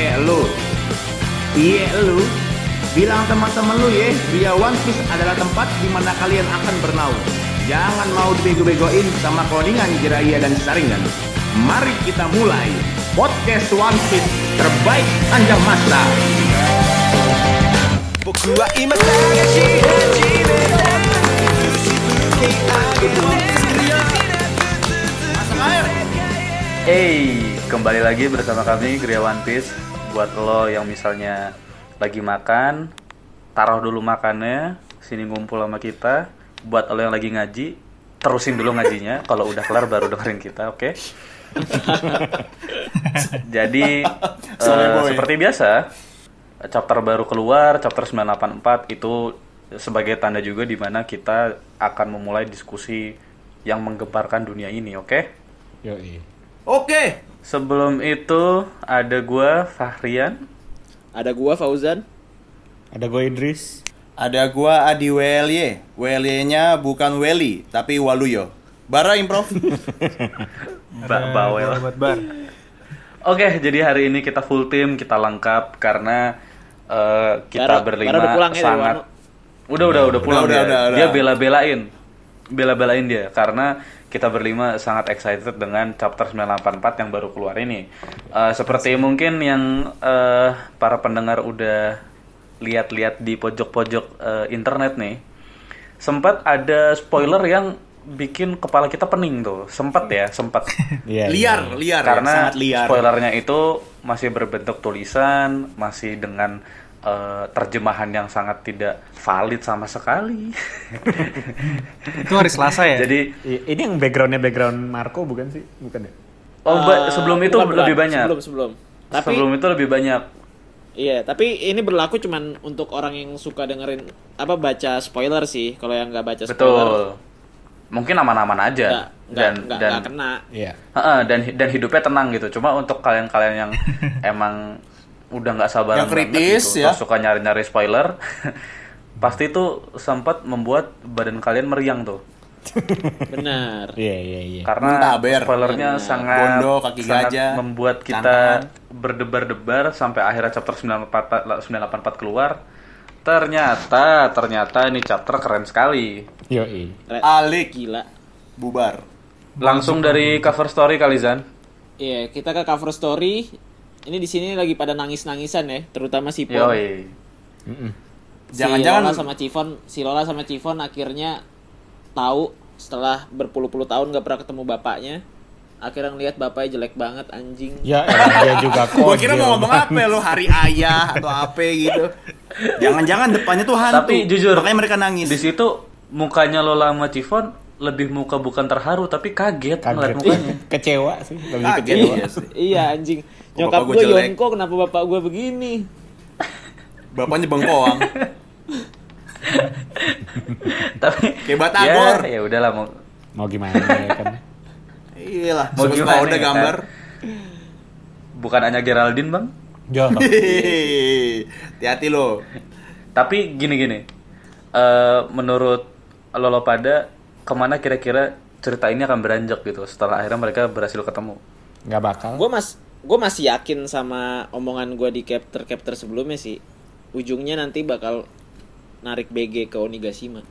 Eh, Iya lu. Bilang teman-teman lu ya, Ria One Piece adalah tempat di mana kalian akan bernaung. Jangan mau dibego-begoin sama cloningan Jiraiya dan Saringan. Mari kita mulai podcast One Piece terbaik anjang masa. 僕は今探し始めたくしぶき上げて Hey, kembali lagi bersama kami Gria One Piece. Buat lo yang misalnya lagi makan, taruh dulu makannya, sini ngumpul sama kita. Buat lo yang lagi ngaji, terusin dulu ngajinya. Kalau udah kelar baru dengerin kita, oke? Jadi eh, seperti biasa, chapter baru keluar, chapter 984 itu sebagai tanda juga di mana kita akan memulai diskusi yang menggemparkan dunia ini, oke? Oke. Sebelum itu ada gua Fahrian. Ada gua Fauzan. Ada gue Idris. Ada gua Adi Welye. Welye-nya Iya, bukan Weli, tapi Waluyo. Bara improv. Mbak Bawel. Oke, jadi hari ini kita full team, kita lengkap karena eh, kita Bara- berlima Bara udah pulang ya dari sangat. Wano? udah, udah, udah pulang udah, dia. udah, udah. Dia bela-belain, bela-belain dia karena kita berlima sangat excited dengan chapter 984 yang baru keluar ini. Eh, seperti mungkin yang eh, para pendengar udah lihat-lihat di pojok-pojok eh, internet nih, sempat ada spoiler yang bikin kepala kita pening tuh. Sempat ya, sempat. Iya. liar, ya. ya, liar. karena sangat liar. spoilernya itu masih berbentuk tulisan, masih dengan eh, terjemahan yang sangat tidak valid sama sekali. Itu hari Selasa ya? Jadi, I- Ini yang backgroundnya background Marco bukan sih? Bukan ya? oh, ba- Eh, sebelum itu bukan, bukan. lebih banyak. Sebelum sebelum. Tapi sebelum itu lebih banyak. iya, tapi ini berlaku cuman untuk orang yang suka dengerin apa baca spoiler sih. Kalau yang nggak baca spoiler Betul. Mungkin aman-aman nggak aja nggak dan nggak- dan nggak kena. Iya. Heeh, dan dan hidupnya tenang gitu. Cuma untuk kalian-kalian yang emang udah nggak sabar Yang kritis, ya. suka nyari-nyari spoiler, pasti itu sempat membuat badan kalian meriang tuh. Benar. Iya, iya, iya. karena Muntaber. spoilernya Iya. sangat Bondo, kaki sangat gajah, membuat kita tangan. berdebar-debar sampai akhirnya chapter 94 984 keluar. Ternyata ternyata ini chapter keren sekali. Yoi. Keren. Alik Gila. bubar. Langsung dari cover story kali Zan. Iya, kita ke cover story. Ini di sini lagi pada nangis-nangisan ya, terutama si Pon. Yoi. si Lola Jangan-jangan sama Cifon, si Lola sama Cifon akhirnya tahu setelah berpuluh-puluh tahun gak pernah ketemu bapaknya. Akhirnya ngeliat bapaknya jelek banget anjing. Ya, eh, dia juga kok. Gua kira mau ngomong apa lo hari ayah atau apa gitu. Jangan-jangan depannya tuh hantu. Tapi jujur, makanya mereka nangis. Di situ mukanya Lola sama Cifon lebih muka bukan terharu tapi kaget, ngeliat kaget. mukanya. kecewa sih, lebih Kaget, kecewa. iya sih. iya anjing. Oh, Nyokap bapak gua gue jelek. Yonko kenapa bapak gue begini? Bapaknya bengkoang. tapi Kayak Batagor. Ya, ya udahlah mau Mau gimana ya kan? Iyalah, Mau sebut gimana udah ya, gambar. bukan hanya Geraldine, Bang. Jo. Hehehe. Hati-hati lo. Tapi gini-gini, eh, menurut Lolo pada kemana kira-kira cerita ini akan beranjak gitu setelah akhirnya mereka berhasil ketemu. Enggak bakal. Gue mas, gue masih yakin sama omongan gue di capture capture sebelumnya sih. Ujungnya nanti bakal narik BG ke Onigashima.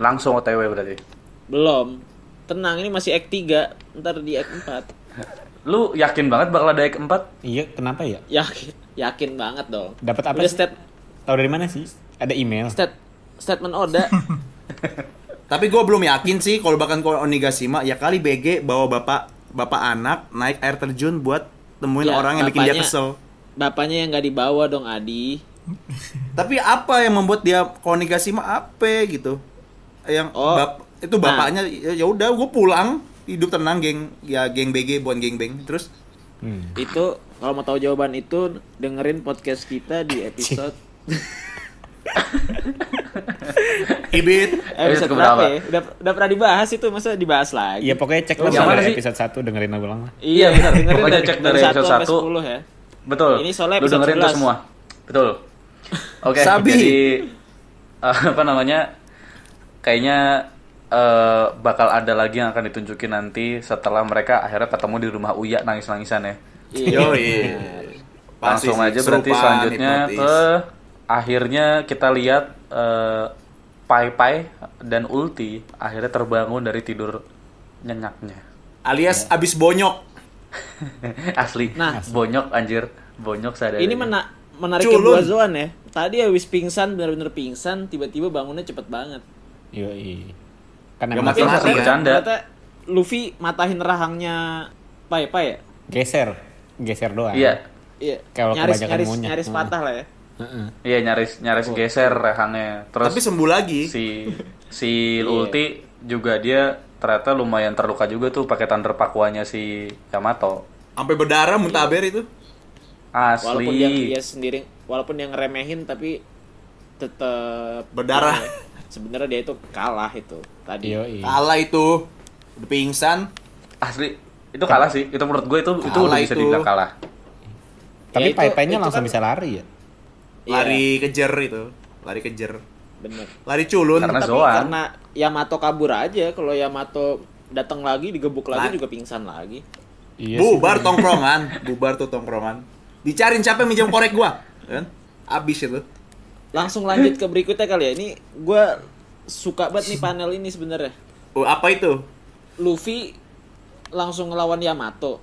Langsung OTW berarti. Belum. Tenang, ini masih act 3, ntar di act 4. Lu yakin banget bakal ada Ek 4? Iya, kenapa ya? Yakin, yakin banget dong. Dapat apa Udah sih? stat, Tahu dari mana sih? Ada email. stat, statement Oda. Tapi gue belum yakin sih kalau bahkan kalau Onigashima ya kali BG bawa bapak bapak anak naik air terjun buat temuin Iya, Ya, orang yang bikin dia bapaknya- kesel. Bapaknya yang nggak dibawa dong Adi. Tapi apa yang membuat dia ke Onigashima apa gitu? Yang Oh. bap- itu Nah. bapaknya ya ya udah gue pulang hidup tenang geng ya geng BG bukan geng beng terus Hmm. Itu kalau mau tahu jawaban itu dengerin podcast kita di episode ibit episode Episode berapa keberapa? ya? Udah, udah pernah dibahas itu, masa dibahas lagi? Iya, pokoknya cek Yang dulu mana dari sih? episode 1 dengerin lagu ulang lah. Iya, benar. dengerin Pokoknya cek dari satu episode sampai satu. 10 ya. Betul. Ini soalnya Lu episode dengerin tuh 11. semua. Betul. Oke, Sabi. jadi eh, apa namanya? Kayaknya eh, bakal ada lagi yang akan ditunjukin nanti setelah mereka akhirnya ketemu di rumah Uya nangis-nangisan ya. Iya. Yoi. Pasti Langsung sih, aja berarti serupan, selanjutnya hipnotis. ke akhirnya kita lihat eh, Pai Pai dan Ulti akhirnya terbangun dari tidur nyenyaknya. Alias abis bonyok. Asli. Nah. bonyok anjir, bonyok sadar. Ini mena menarik Culun. buat Zoan ya. Tadi habis pingsan bener-bener pingsan, tiba-tiba bangunnya cepet banget. Yoi. Kan Gak emang mati mati Tapi Langsung ternyata- kan. bercanda. ternyata Luffy matahin rahangnya Pai Pai ya? geser, geser doang. Iya, Iya. Kalau nyaris kebanyakan nyaris monyet. nyaris Hmm. patah lah ya. iya nyaris nyaris geser rahangnya. Terus Tapi sembuh lagi. si si Ulti juga dia ternyata lumayan terluka juga tuh pakai tanda pakuannya si Yamato. Sampai berdarah muntaber itu. Asli. Walaupun dia, iya dia sendiri walaupun dia ngeremehin tapi tetap Berdarah. Sebenarnya dia itu kalah itu tadi. Yoi. Kalah itu. Udah pingsan. Asli itu kalah sih. Itu menurut gue itu itu Kalah udah bisa itu. dibilang kalah. Tapi Ya, itu- pai-painya itu langsung kan- bisa lari ya. Iya, Lari kejer itu. Lari kejer. bener. Lari culun. Karena Tapi Zoan. karena Yamato kabur aja, kalau Yamato datang lagi digebuk Lah. lagi juga pingsan lagi. Iya bubar tongkrongan. bubar tuh tongkrongan. Dicariin siapa yang minjem korek gua. Kan? Abis itu. Langsung lanjut ke berikutnya kali ya. Ini gue suka banget nih panel ini sebenarnya. Oh, apa itu? Luffy langsung ngelawan Yamato.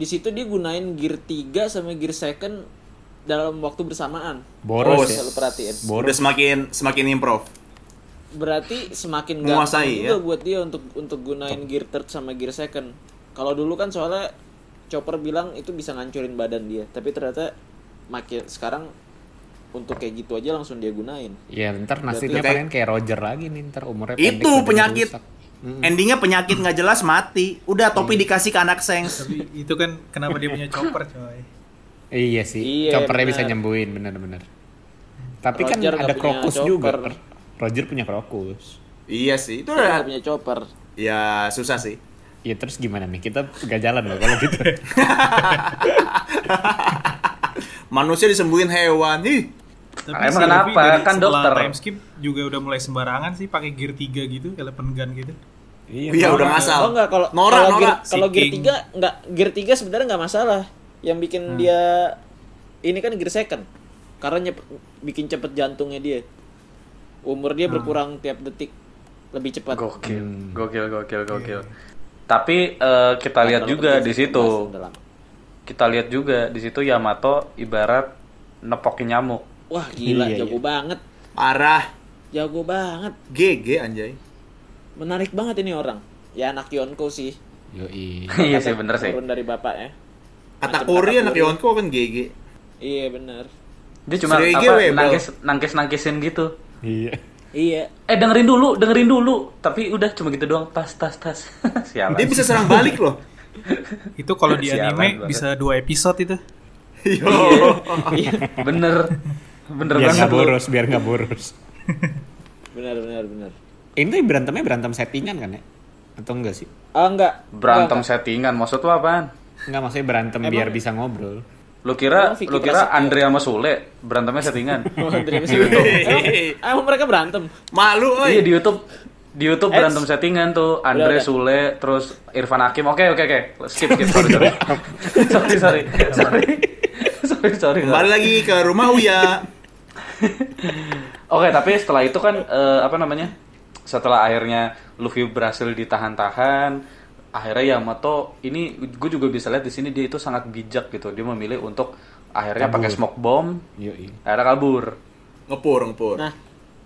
Di situ dia gunain gear 3 sama gear second dalam waktu bersamaan. Boros Oh, ya. Kalau perhatiin. Udah Boros. semakin semakin improv. Berarti semakin gampang Menguasai, juga ya? buat dia untuk untuk gunain gear third sama gear second. Kalau dulu kan soalnya Chopper bilang itu bisa ngancurin badan dia, tapi ternyata makin sekarang untuk kayak gitu aja langsung dia gunain. Ya ntar nasibnya Berarti kayak- pengen kayak Roger lagi nih ntar umurnya pendek, Itu badannya penyakit. rusak. Endingnya penyakit nggak jelas mati. Udah topi dikasih ke anak sengs. Tapi itu kan kenapa dia punya chopper coy. Iya sih. Iya, Choppernya bisa benar. nyembuhin bener-bener. Tapi kan Roger nggak ada punya krokus juga. chopper. Roger punya krokus. Iya sih. Itu Dia nggak udah punya Chopper. ya susah sih. Ya terus gimana nih? Kita gak jalan loh kalau gitu. Manusia disembuhin hewan. Ih, Tapi Ah, Emang kenapa? dari Kan setelah dokter. Time skip juga udah mulai sembarangan sih pakai gear 3 gitu, elephant gun gitu. iya Nora. udah ngasal. Oh enggak kalau Nora, kalau Nora. gear, kalau gear Seeking. 3 enggak gear 3 sebenarnya nggak masalah. Yang bikin Hmm. dia ini kan gear second. Karena nyep- bikin cepet jantungnya dia. Umur dia berkurang tiap detik lebih cepat. Hmm. Gokil, gokil, gokil, gokil. Tapi eh, kita Nah, lihat juga di situ. Kita lihat juga di situ Yamato ibarat nepokin nyamuk. Wah, gila Iya, jago banget. Parah. Jago banget. GG anjay. Menarik banget ini orang. Ya anak Yonko sih. Yoi. Iya sih bener sih. Turun dari ya. bapaknya. Kata Macam Kori anak Katakuri. Yonko kan GG. Iya, bener. Dia cuma Serege apa we, bro. nangkis nangkis nangkisin gitu. Iya. Iya. Eh dengerin dulu, dengerin dulu. Tapi udah cuma gitu doang. Tas, tas, tas. Sialan. Dia bisa serang balik loh. Itu kalau di Sialan anime banget. bisa dua episode itu. Iya. Yo. Iya. Bener, bener kan? Biar banget. nggak lu. boros, biar nggak boros. Benar, benar, benar. Ini tuh berantemnya berantem settingan kan ya? Atau enggak sih? Ah, enggak. Berantem Enggak, settingan. Maksud lu apaan? Enggak maksudnya berantem biar bisa ngobrol. Lu kira, Emang Vicky lu kira Prasetyo? Andre sama Sule berantemnya settingan? enggak. Oh, Andrea masih belum. Emang- Emang mereka berantem? Malu Iya oi. di YouTube di YouTube berantem settingan tuh Andre udah. Sule terus Irfan Hakim. Oke oke oke. Skip skip sorry sorry. sorry sorry. Sorry. Sorry sorry. Kembali lagi ke rumah Uya. Oke, tapi setelah itu kan eh, apa namanya? Setelah akhirnya Luffy berhasil ditahan-tahan, akhirnya Yamato ini gue juga bisa lihat di sini dia itu sangat bijak gitu. Dia memilih untuk akhirnya pakai smoke bomb, Yoi. akhirnya kabur. Ngepur, ngepur. Nah,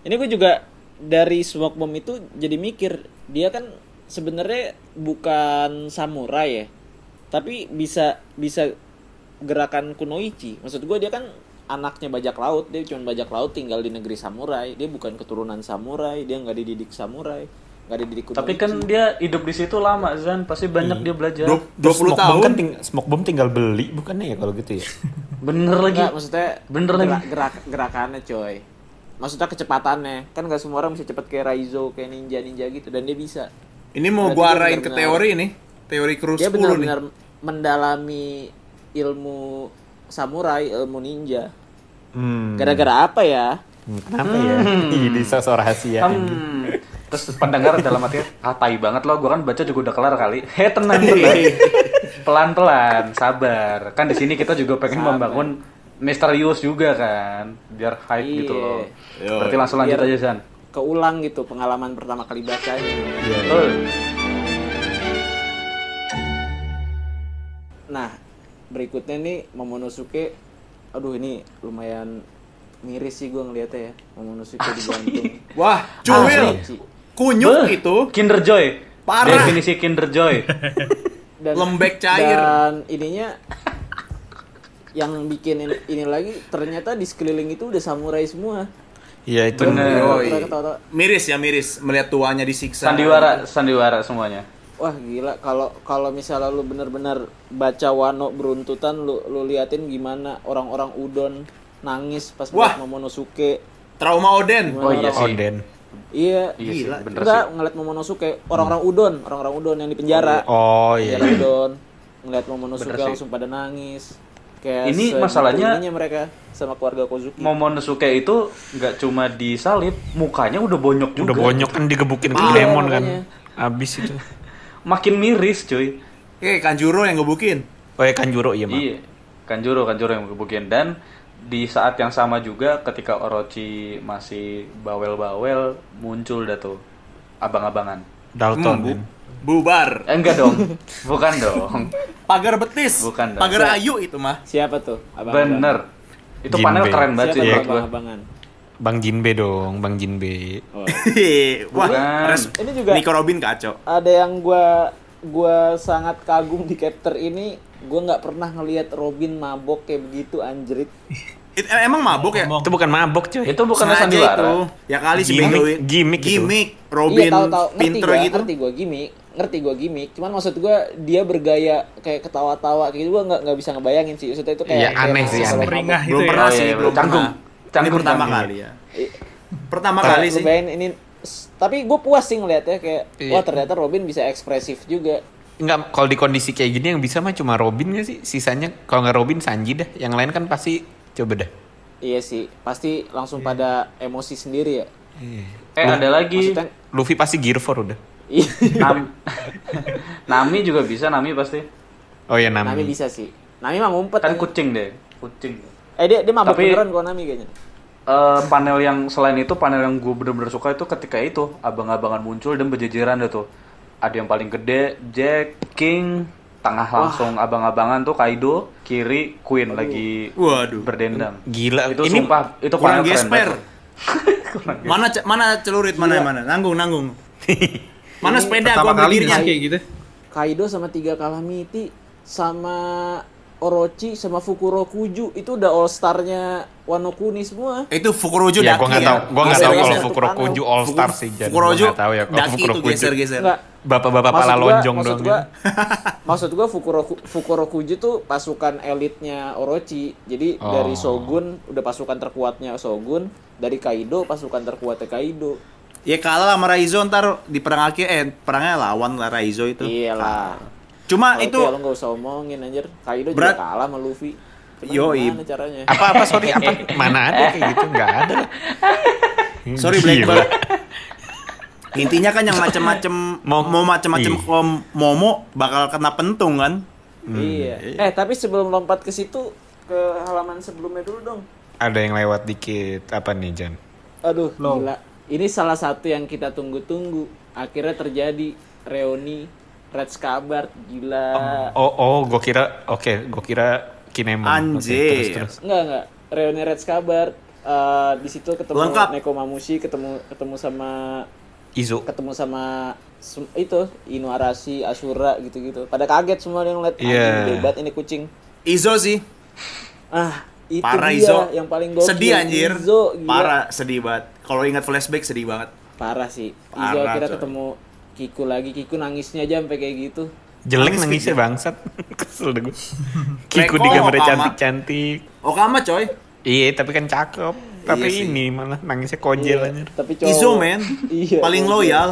ini gue juga dari smoke bomb itu jadi mikir dia kan sebenarnya bukan samurai ya, tapi bisa bisa gerakan kunoichi. Maksud gue dia kan anaknya bajak laut, dia cuma bajak laut tinggal di negeri samurai. Dia bukan keturunan samurai, dia nggak dididik samurai, nggak dididik kunoichi. Tapi kan dia hidup di situ lama, Zan. Pasti banyak dia iya. belajar. Dua- 20 Terus smoke bomb tahun. kan ting- smoke bomb tinggal beli bukannya ya kalau gitu ya? Bener lagi. Nggak, maksudnya Bener gerak- lagi. gerak gerakannya coy. Maksudnya kecepatannya kan nggak semua orang bisa cepet kayak Raizo kayak ninja ninja gitu dan dia bisa. Ini mau Berarti gua dia arahin ke benar-benar- teori nih. Teori kru dia 10 nih. benar-benar Iya, mendalami ilmu samurai, ilmu ninja. Hmm. Gara-gara apa ya? Hmm. Kenapa ya? Ih, di sos rahasia. Hmm. Terus pendengar dalam artinya, ah tai banget lo, gue kan baca juga udah kelar kali. Hei tenang tenang, pelan-pelan, sabar. Kan di sini kita juga pengen membangun misterius juga kan, biar hype gitu Iya. loh. Yoi. Berarti langsung lanjut Biar- aja San. Keulang gitu pengalaman pertama kali bacanya. Betul. Nah, berikutnya nih Momonosuke. Aduh ini lumayan miris sih gue ngeliatnya ya. Momonosuke digantung. Wah, cuil. Asli. Kunyuk Beuh, itu Kinder Joy. Parah. Definisi Kinder Joy. Dan, Lembek cair. Dan ininya yang bikin ini, ini lagi ternyata di sekeliling itu udah samurai semua. Iya itu. Bener. Yoi. Ketawa-ketawa. Miris ya miris melihat tuanya disiksa. Sandiwara, sandiwara semuanya. Wah gila kalau kalau misalnya lu bener-bener baca Wano beruntutan lu lu liatin gimana orang-orang udon nangis pas Wah. ngeliat Momonosuke. Trauma Oden. Oh iya sih. Oden. Iya. Iya sih, Gila. bener sih. Hmm. Enggak ngeliat Momonosuke orang-orang udon, orang-orang udon yang di penjara. Oh iya. Penjara udon. Ngeliat Momonosuke Bener sih. langsung pada nangis. Kayak Ini segitu masalahnya- ininya mereka sama keluarga Kozuki. Momonosuke itu nggak cuma disalib, mukanya udah bonyok juga. Udah bonyok kan digebukin ke demon kan. Abis itu. Makin miris, cuy. Eh, Kanjuro yang ngebukin. Oh ya Kanjuro iya mah. Iya. Kanjuro, Kanjuro yang kebukian dan di saat yang sama juga ketika Orochi masih bawel-bawel muncul dah tuh abang-abangan. Dalton kan. Hmm, Bubar. Eh, enggak dong. Bukan dong. Pagar betis. Bukan dong. Pagar ayu itu mah. Siapa tuh? Abang-abang. Bener. Itu Jinbe. panel keren banget Siapa sih tuh menurut gua. abang-abangan? Bang Jinbe dong, Bang Jinbe. Iya. Wah, Bukan. res- Ini juga- Nico Robin kacau. ada yang gua gua sangat kagum di chapter ini gua nggak pernah ngelihat Robin mabok kayak begitu anjrit Iya, It- eh, emang mabuk ya? Ngomong. Itu bukan mabok cuy. Itu bukan Sengaja sandiwara. Ya kali si Gimik- Begoin. gimik itu. Gimik. Robin iya tahu tahu ngerti pinter gua gitu. ngerti gua gimmick ngerti gua gimmick cuman maksud gua dia bergaya kayak ketawa-tawa kayak gitu gua nggak nggak bisa ngebayangin sih maksudnya itu kayak Iya, kayak aneh masih sih, kalau aneh. mabok. Peringah itu Belum ya. pernah Oh, sih, iya, belum canggung. pernah. Ini Canggung, pertama canggung. kali ya. Pertama Kayak kali gua sih. bayangin ini s- tapi gue puas sih ngeliatnya kayak Iya. wah ternyata Robin bisa ekspresif juga Enggak, kalau di kondisi kayak gini yang bisa mah cuma Robin gak sih? Sisanya kalau nggak Robin Sanji dah. Yang lain kan pasti coba dah. iya sih pasti langsung pada emosi sendiri ya Iya. Eh ada lagi maksudnya Luffy pasti Gear 4 udah. Nam- Nami juga bisa, Nami pasti. Oh ya Nami Nami. bisa sih Nami mah ngumpet Kan anjing. kucing deh, kucing. eh dia dia mabok Tapi- beneran kok Nami kayaknya Eh, panel yang selain itu panel yang gue bener-bener suka itu ketika itu abang-abangan muncul dan berjejeran deh tuh ada yang paling gede Jack King tengah langsung abang-abangan tuh Kaido kiri Queen lagi Waduh. berdendam Gila. itu Ini sumpah itu Kurang panel keren gesper. banget. mana ce- mana celurit Iya. mana mana? Nanggung nanggung. mana sepeda Pertama gua kali berdirinya. nggak sih kayak gitu. Kaido sama tiga Kalamiti sama Orochi sama Fukurokuju itu udah all starnya Wano Kuni semua. Itu Fukuroju ya daki gua nggak tahu, gua nggak Geser, tahu kalau geser. Fukurokuju All Fuku- Star sih jadi gua Fukuroju nggak tahu ya kalau daki itu Fukurokuju. geser-geser. Enggak. Bapak-bapak Maksud pala gua- lonjong maksud doang. gua, kan. maksud gua Fukuro- Fukurokuju tuh pasukan elitnya Orochi. Jadi Oh. dari Shogun udah pasukan terkuatnya Shogun, dari Kaido pasukan terkuatnya Kaido. Ya kalah sama Raizo ntar di perang akhir eh perangnya lawan lah Raizo itu. Iyalah. Cuma Ah, Iya. Kalau itu ya lo nggak usah omongin anjir. Kaido Berat- juga kalah sama Luffy. Cuman Yoi. gimana caranya? Apa apa sorry apa mana ada kayak gitu nggak ada. lah. sorry Hmm, Gila. Blackbird. Intinya kan yang macem-macem mau, Mau- macem-macem Iya. kom Momo bakal kena pentung kan. Iya. Eh, tapi sebelum lompat ke situ ke halaman sebelumnya dulu dong. Ada yang lewat dikit apa nih Jan? Aduh, Loh. gila. Ini salah satu yang kita tunggu-tunggu. Akhirnya terjadi reuni Red Scabbard. Gila. Oh oh gua kira oke gua kira Kinemon. Oke, Anjir. terus terus. Enggak, enggak. Reuni Red Scabbard. Eh, di situ ketemu Lengkap. Neko Mamushi, ketemu ketemu sama Izu. ketemu sama sem- itu Inuarashi, Asura gitu-gitu. Pada kaget semua yang ngeliat Iya. anjing, gede banget ini kucing. Izo sih. Ah, itu Parah dia Izo. yang paling gokil. Sedih anjir. Izo, gila. Parah sedih banget. Kalau ingat flashback sedih banget. Parah sih. Izo Parah, akhirnya coy. ketemu Kiku lagi. Kiku nangisnya aja sampai kayak gitu. Jelek Nangis nangisnya gitu. bangsat. Kesel deh gua. Kiku Neko, digambarnya Okama. cantik-cantik. Okama coy. Iya, tapi kan cakep. Tapi Iya sih. ini malah nangisnya kojel Iya, anjir. Tapi cowok. Izo men. Iya, Paling cowok. loyal.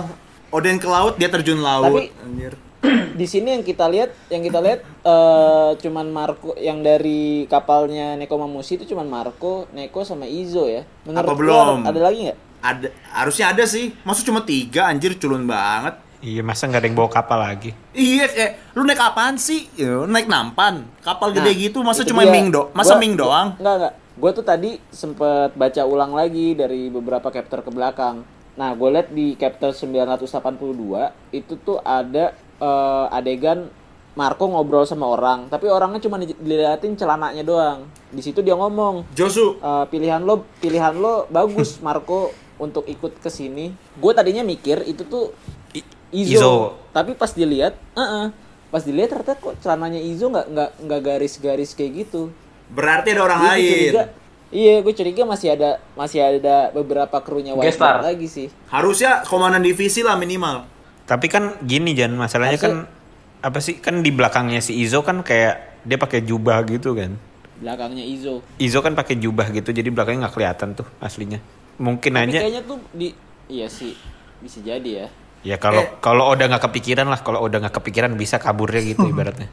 Oden ke laut dia terjun laut. Tapi- Anjir. Di sini yang kita lihat, yang kita lihat eh cuman Marco yang dari kapalnya Neko Mamushi itu cuman Marco, Neko sama Izo ya. Menurut Apa lu belum? Ada lagi nggak? ada harusnya ada sih. Maksud cuma tiga anjir culun banget. Iya masa nggak ada yang bawa kapal lagi? Iya, kayak lu naik apaan sih? Ya, Naik nampan, kapal gede Nah, gitu, masa itu cuma dia. ming do, masa Gua- ming doang? Enggak, enggak. Gue tuh tadi sempet baca ulang lagi dari beberapa chapter ke belakang. Nah, gue liat di chapter 982 itu tuh ada eh, adegan Marco ngobrol sama orang, tapi orangnya cuma di- diliatin celananya doang. Di situ dia ngomong, Josu, Eh, pilihan lo pilihan lo bagus Marco untuk ikut ke sini. Gue tadinya mikir itu tuh Izo. Izo. Tapi pas dilihat, eh, eh. pas dilihat ternyata kok celananya Izo nggak nggak nggak garis-garis kayak gitu. berarti ada orang Jadi gua lain. curiga, iya, gue curiga masih ada masih ada beberapa krunya White Guest star. Knight lagi sih. Harusnya komandan divisi lah minimal. Tapi kan gini Jan, masalahnya kan apa sih? Kan di belakangnya si Izo kan kayak dia pakai jubah gitu kan. Belakangnya Izo. Izo kan pakai jubah gitu, jadi belakangnya nggak kelihatan tuh aslinya. Mungkin Tapi aja kayaknya tuh di iya sih bisa jadi ya. ya kalau kalau Oda nggak kepikiran lah, kalau Oda nggak kepikiran bisa kaburnya gitu ibaratnya.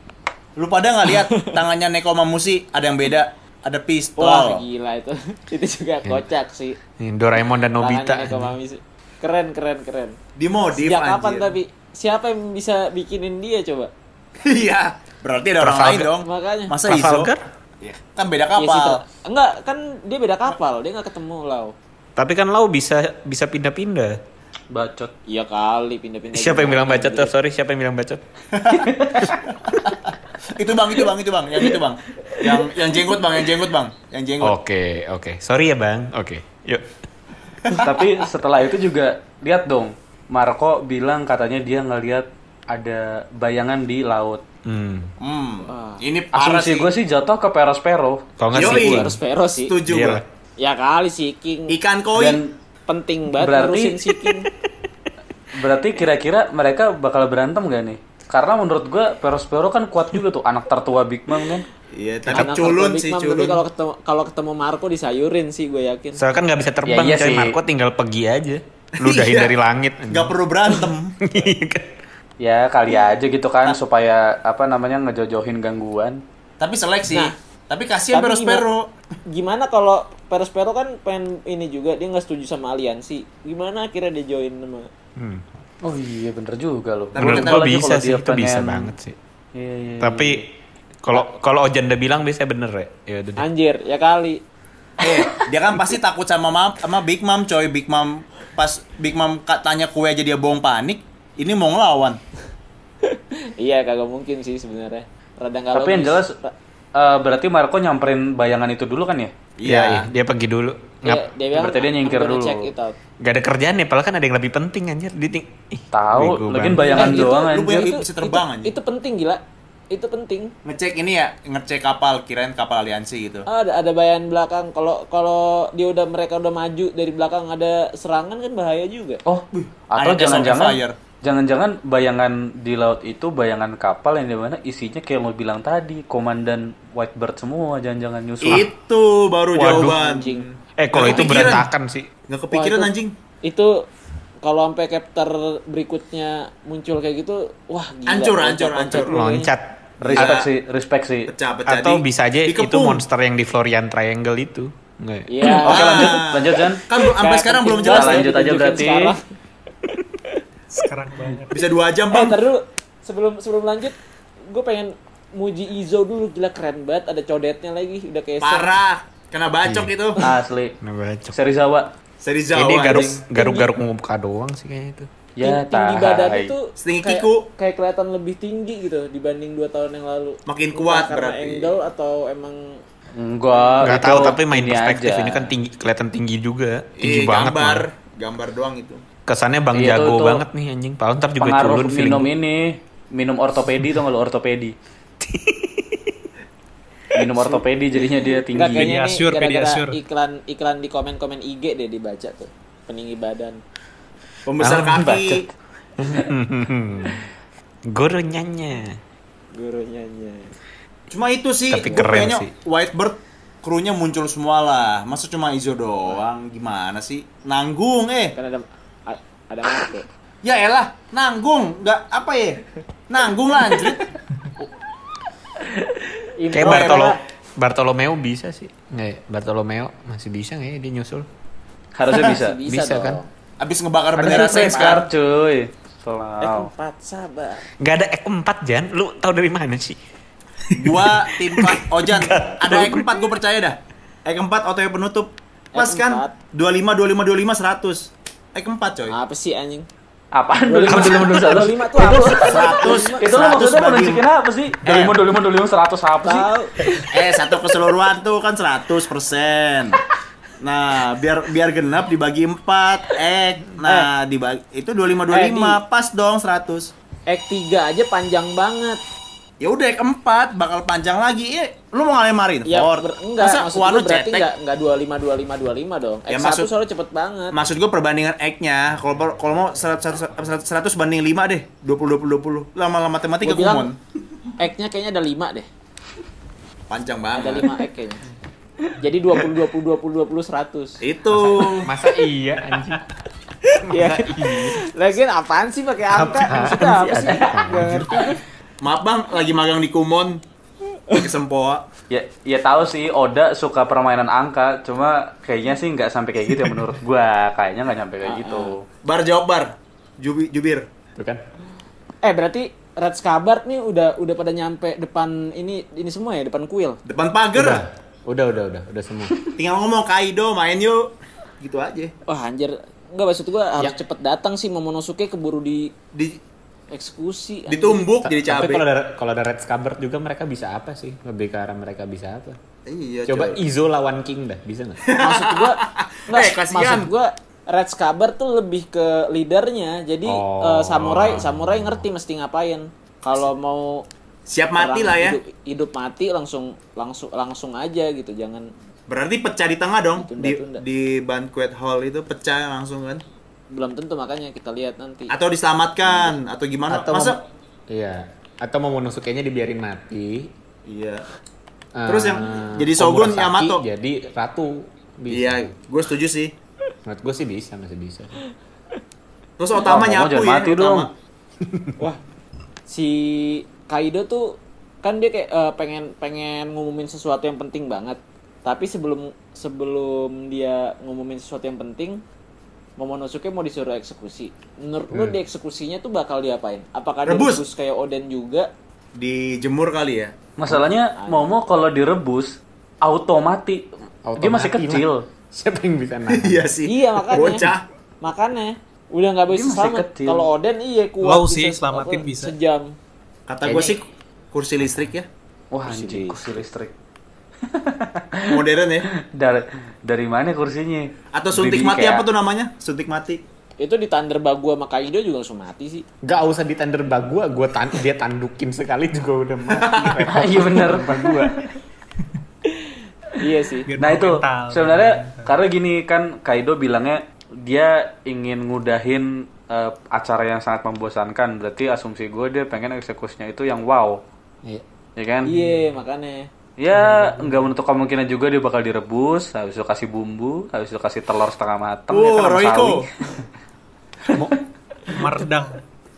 Lu pada nggak lihat tangannya Neko sama Musi ada yang beda, ada pistol. Wah, gila itu. itu juga kocak sih. Ini Doraemon dan Nobita. Tangannya Nekomami sih. Keren keren keren. Dimodif Sejak kapan anjir. tapi siapa yang bisa bikinin dia coba? Iya, berarti ada orang lain Trafalgar. dong. Makanya. Masa Izo? Trafalgar? Ya, kan beda Iya sih, kapal. ter- enggak, kan dia beda kapal, dia nggak ketemu Lau. Tapi kan Lau bisa bisa pindah-pindah. Bacot. Iya kali pindah-pindah. Siapa yang gimana, bilang bacot anjir. tuh? Sorry, siapa yang bilang bacot? itu bang, itu bang, itu bang, yang itu bang, yang yang jenggot bang, yang jenggot bang, yang jenggot. Oke, oke. Sorry ya, Bang. Oke. Yuk. Tapi setelah itu juga lihat dong, Marco bilang katanya dia ngelihat ada bayangan di laut. Hmm. Hmm, Ah. ini parah sih. Asumsi gue sih jatuh ke Peros-Pero. Kalau nggak Yoi. sih gua. Harus Vero sih. Setuju Iya gua. lah. Ya kali sih King. Ikan koi. Dan penting banget Berarti- ngurusin si King. berarti kira-kira mereka bakal berantem gak nih? Karena menurut gue Peros-Pero kan kuat juga tuh, anak tertua Big Mom kan. Iya, Anak tapi culun Big sih, Mom, Tapi culun. kalau ketemu kalau ketemu Marco disayurin sih gue yakin. Soalnya kan nggak bisa terbang, Ya, iya coy. sih. Marco tinggal pergi aja. Ludahin Iya. dari langit. Nggak perlu berantem. Iya kan? Ya kali aja gitu Nah. kan, supaya apa namanya ngejojohin gangguan. tapi seleksi. Nah. tapi kasihan Tapi Pero Spero. Gimana kalau Perospero kan pengen ini juga dia nggak setuju sama aliansi. Gimana akhirnya dia join sama Hmm. Oh iya bener juga loh. Tapi Menurut kita gua lagi bisa kalau sih, dia itu bisa pengen- banget sih. Iya, iya, iya. Tapi kalau kalau Ojanda bilang biasanya bener ya. Ya udah Iya. deh. Anjir, ya kali. Eh, dia kan pasti takut sama mam, sama Big Mom coy. Big Mom pas Big Mom ka- tanya kue aja dia bohong panik. Ini mau ngelawan. Iya, kagak mungkin sih sebenarnya. Rada nggak Tapi yang logis. jelas eh, berarti Marco nyamperin bayangan itu dulu kan ya? Iya, iya, dia pergi dulu. Iya, Ngap, dia bilang, Berarti dia "I'm nyingkir gonna dulu." Check it out. Gak ada kerjaan ya, padahal kan ada yang lebih penting anjir. Dia ting- Ih, bego Tahu, lagian banget. bayangan Eh, itu doang Kan gitu. lu punya anjir. Itu bisa terbang, itu, anjing. itu penting gila. Itu penting. Ngecek ini ya, ngecek kapal kirain kapal aliansi gitu. Ah. Ada ada bayangan belakang. Kalau kalau dia udah mereka udah maju dari belakang ada serangan kan bahaya juga. Oh, Iron atau Chest on jangan-jangan fire. jangan-jangan bayangan di laut itu bayangan kapal yang dimana isinya kayak yang lo bilang tadi, komandan Whitebird semua jangan-jangan nyusul. Itu baru Waduh. jawaban. Anjing. Eh, kalau Nggak itu kepikiran. berantakan sih. Nggak Wah, kepikiran itu- anjing. Itu kalau sampai chapter berikutnya muncul kayak gitu, wah gila. Hancur, Loncat- hancur, loncat hancur. dulu kayaknya. Loncat. Ah, Respect sih, respect sih. Pecah, pecah. Iya. Atau di- bisa aja itu dikepung. monster yang di Florian Triangle itu. Nggak ya? Iya. Oke, lanjut, Ah. lanjut Jan. Kan belum- sampai Kayak sekarang belum penting jelas. banget Lanjut aja ditunjukin berarti. sekarang. Sekarang banget. Bisa dua jam Eh, bang. ntar dulu. sebelum sebelum lanjut, gue pengen muji Izo dulu gila keren banget ada codetnya lagi udah kayak Parah. Kena bacok Iya. itu. Asli. Nah, bacok. Serizawa. Seri Ya, Jawa. dia garuk anjing. garuk garuk muka doang sih kayaknya itu. Ya, Ya, tinggi tai. badannya tuh Setinggi kayak, kiku. kayak kelihatan lebih tinggi gitu dibanding dua tahun yang lalu. Makin Entah kuat karena berarti. angle atau emang Enggak, Oh, Nggak itu tahu tapi main ini perspektif aja. ini kan tinggi kelihatan tinggi juga, Ih, tinggi Eh, banget. Iya, Gambar, malah. gambar doang itu. Kesannya Bang Iya, tuh, Jago tuh. banget nih anjing. Padahal ntar juga pengaruh culun feeling. minum ini minum ortopedi tuh nggak lu ortopedi minum ortopedi jadinya dia enggak tinggi kayaknya ini Pediasure, gara-gara Pediasure. iklan iklan di komen-komen IG deh dibaca tuh peninggi badan. Pembesar Ah, kaki. Guru nyanya. Gurunya iya. nya. Cuma itu sih. Tapi gua keren kayaknya sih. Whitebird krunya muncul semua lah. Masa cuma Izo doang? Gimana sih? Nanggung eh. Kan ada a- ada Marco. Ya elah, nanggung. Nggak apa ya? Nanggung lah anjir. Kayak Oh, Bartolo emang- Bartolomeo bisa sih. Nggak ya? Bartolomeo masih bisa nggak ya dia nyusul? Harusnya bisa. Masih bisa, Bisa, dong. kan? Abis ngebakar Ada bendera surprise, sains kan? Cuy. Eh, Selalu. empat sabar. Gak ada ek 4 Jan, lu tahu dari mana sih? Gua tim 4. Ojan, ada ek 4 gua percaya dah. Ek 4 otw penutup. Pas Ek kan? 25 25 25 100. Ek 4 coy. Apa sih anjing? Apaan dulu? 25 tuh apa sih? 100 Itu lo 100 maksudnya mau bagi nunjukin apa sih? 25, 25, 25, 100 apa sih? Tahu. eh satu keseluruhan tuh kan 100%. Nah, biar biar genap dibagi 4 ek. Nah, dibagi itu 25 25 Eh, pas dong 100. Act 3 aja panjang banget. Ya udah ek 4 bakal panjang lagi. Eh, lu mau ngalahin Marin? Ya ber- enggak, Masa maksud Wano gue berarti cetek? enggak enggak 25 25 25 dong. Ya, Act maksud- 1 soalnya cepet banget. Maksud gue perbandingan egg-nya kalau per- kalau mau 100, 100, 100 banding 5 deh. 20 20 20. Lama-lama matematika Gua bilang, kumon. Act-nya kayaknya ada 5 deh. Panjang Ada banget. 5 act kayaknya. Jadi 20 20 20 20 100. Itu. Masa iya anjing? Iya. Lagian apaan sih pakai angka? Maksudnya apa sih? Nggak ngerti. Maaf Bang, lagi magang di Kumon. Di Sempoa. Ya, ya tahu sih Oda suka permainan angka, cuma kayaknya sih nggak sampai kayak gitu ya menurut gua. Kayaknya nggak nyampe kayak gitu. Bar jawab bar. Jubi, jubir. Tuh kan. Eh berarti Red Skabar nih udah udah pada nyampe depan ini ini semua ya depan kuil. Depan pagar. Udah, udah, udah, udah semua. Tinggal ngomong Kaido main yuk. Gitu aja. Wah anjir. Enggak maksud gua harus cepet datang sih Momonosuke keburu di Di, eksekusi. anjing. ditumbuk jadi Tapi cabe. kalau ada kalau ada Red Scabbard juga mereka bisa apa sih? Lebih ke arah mereka bisa apa? Iya, Coba coy. Izo lawan King dah, bisa nggak? Maksud gua enggak, Eh, kasihan. maksud gua Red Skabar tuh lebih ke leadernya. Jadi Oh. eh, samurai samurai ngerti mesti ngapain. Kalau mau Siap mati perang lah ya. Hidup, hidup mati langsung langsung langsung aja gitu. Jangan Berarti pecah di tengah dong. Di, Ditunda-tunda. di banquet hall itu pecah langsung kan. belum tentu makanya kita lihat nanti. Atau diselamatkan atau gimana? Atau Masa Iya. Atau mau Momonosuke-nya dibiarin mati. Iya. Eh, Terus yang jadi shogun Komurasaki Yamato. Jadi ratu. Iya, gue setuju sih. Menurut gue sih bisa, masih bisa. Terus Otama Oh, Momo nyapu jangan ya. mati dong. Otama. Wah, si Kaido tuh kan dia kayak eh, pengen pengen ngumumin sesuatu yang penting banget. Tapi sebelum sebelum dia ngumumin sesuatu yang penting, Momonosuke mau disuruh eksekusi. Menurut lu dieksekusinya tuh bakal diapain? Apakah dia Rebus. rebus kayak Oden juga? Dijemur kali ya. Masalahnya Momo kalau direbus automati. Dia Automati, masih kecil. Siapa yang bisa nahan? Iya sih. Iya makanya. Bocah. Makanya udah nggak Dia bisa masih selamat. kecil. Kalau Oden iya kuat. Low sih, selamatin apa, bisa. Sejam. Kata gue sih kursi listrik ya. Wah, anjing kursi listrik. Modern ya. Dari dari mana kursinya? Atau suntik Jadi mati kayak- apa tuh namanya? Suntik mati. Itu di Thunder Bagua sama Kaido juga langsung mati sih. Gak usah ditender bag gua, gua tan- dia tandukin sekali juga udah mati. Ah, Iya bener. iya sih. Biar Nah itu mental. sebenarnya karena gini kan Kaido bilangnya dia ingin ngudahin eh, acara yang sangat membosankan. Berarti asumsi gue dia pengen eksekusinya itu yang wow, Iya. ya kan? Iya makanya. Ya nggak menutup kemungkinan juga dia bakal direbus, habis itu kasih bumbu, habis itu kasih telur setengah matang, Oh, ya kan, Wow, sama Royko. sawi. Merdang.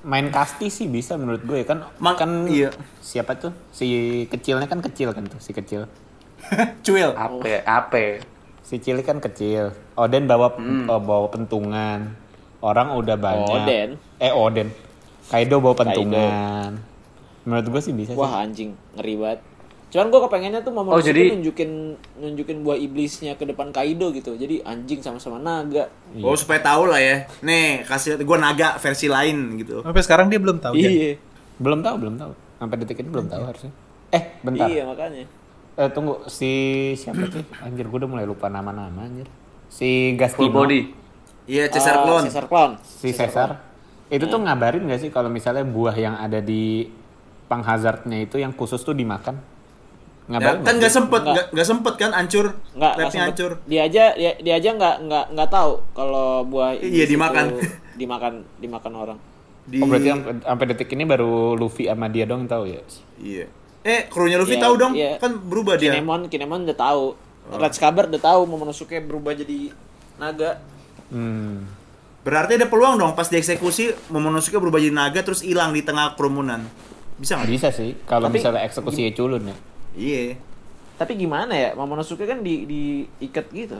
Main kasti sih bisa menurut gue kan Ma- kan iya. siapa tuh si kecilnya kan kecil kan tuh si kecil Cuil. Ape, ape. si cili kan kecil Oden bawa eh, bawa pentungan orang udah banyak Oden. eh Oden Kaido bawa pentungan menurut gue sih bisa sih Wah anjing, ngeri banget. Cuman gue kepengennya tuh Momonosuke Oh, jadi- nunjukin nunjukin buah iblisnya ke depan Kaido gitu. Jadi anjing sama-sama naga. Oh Iya. supaya tahu lah ya. Nih kasih gue naga versi lain gitu. Sampai sekarang dia belum tahu. Jan. Iya. belum tahu belum tahu sampai detik ini belum tahu harusnya eh bentar Iya makanya. Eh, tunggu si siapa sih anjir gue udah mulai lupa nama-nama anjir Full si Gastino body. Iya Caesar Ah, Clone. Caesar Clone. si Caesar itu tuh ngabarin gak sih kalau misalnya buah yang ada di penghazardnya itu yang khusus tuh dimakan Ya, ngabarin kan nggak gak sih? sempet, gak, gak sempet kan hancur. Nggak, nggak Labnya sempet. hancur. Dia aja dia, dia aja nggak nggak nggak tahu kalau buah iblis Iya, dimakan. itu dimakan dimakan orang. Di... oh berarti sampai- sampai detik ini baru Luffy sama dia dong tahu ya Iya. Eh krunya Luffy Iya, tahu dong. iya. Kan berubah dia. Kinemon Kinemon udah tahu. Red Skabar udah tahu Momonosuke berubah jadi naga. hmm. Berarti ada peluang dong pas dieksekusi Momonosuke berubah jadi naga terus hilang di tengah kerumunan. Bisa nggak? bisa sih kalau Tapi- misalnya eksekusinya culun ya Iya. Tapi gimana ya Momonosuke kan di diikat gitu.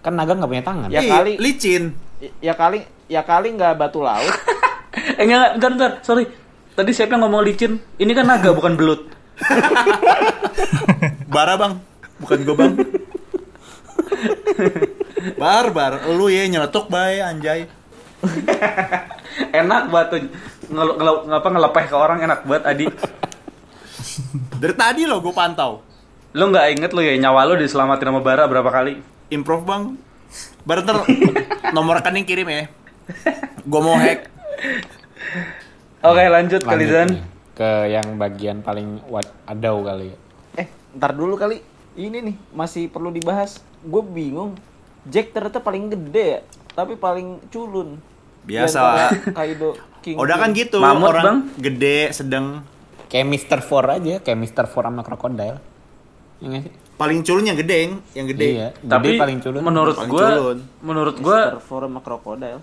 Kan naga nggak punya tangan. Ya Ih, kali. licin. Y- Ya kali ya kali nggak batu laut. Eh enggak, enggak, bentar, bentar, sorry. Tadi siapa yang ngomong licin? Ini kan naga bukan belut. Bara bang, bukan gue bang. Barbar, lu ya nyeletuk bay anjay. Enak banget tuh. Ngel, ngel, ngapa ngelepeh ke orang enak banget Adi. Dari tadi lo gue pantau. Lu nggak inget lu ya nyawa lu diselamatin sama bara berapa kali? Improve bang. Bar ntar nomor rekening kirim ya. Gue mau hack. Oke, lanjut, Iya, Lanjut Kalizan. nih, Ke yang bagian paling wa- adau kali ya. Eh, ntar dulu kali. Ini nih masih perlu dibahas. Gue bingung. Jack ternyata paling gede ya, tapi paling culun. Biasa. Di antara Kaido King. Udah kan gitu Mamut, orang Bang. gede sedang Kayak Mr. Four aja, kayak Mr. Four sama Crocodile. Iya nggak sih? paling culun yang gede yang- yang gede. Iya, gede Tapi paling culun. menurut Paling gua culun. menurut Gua gua forma krokodil.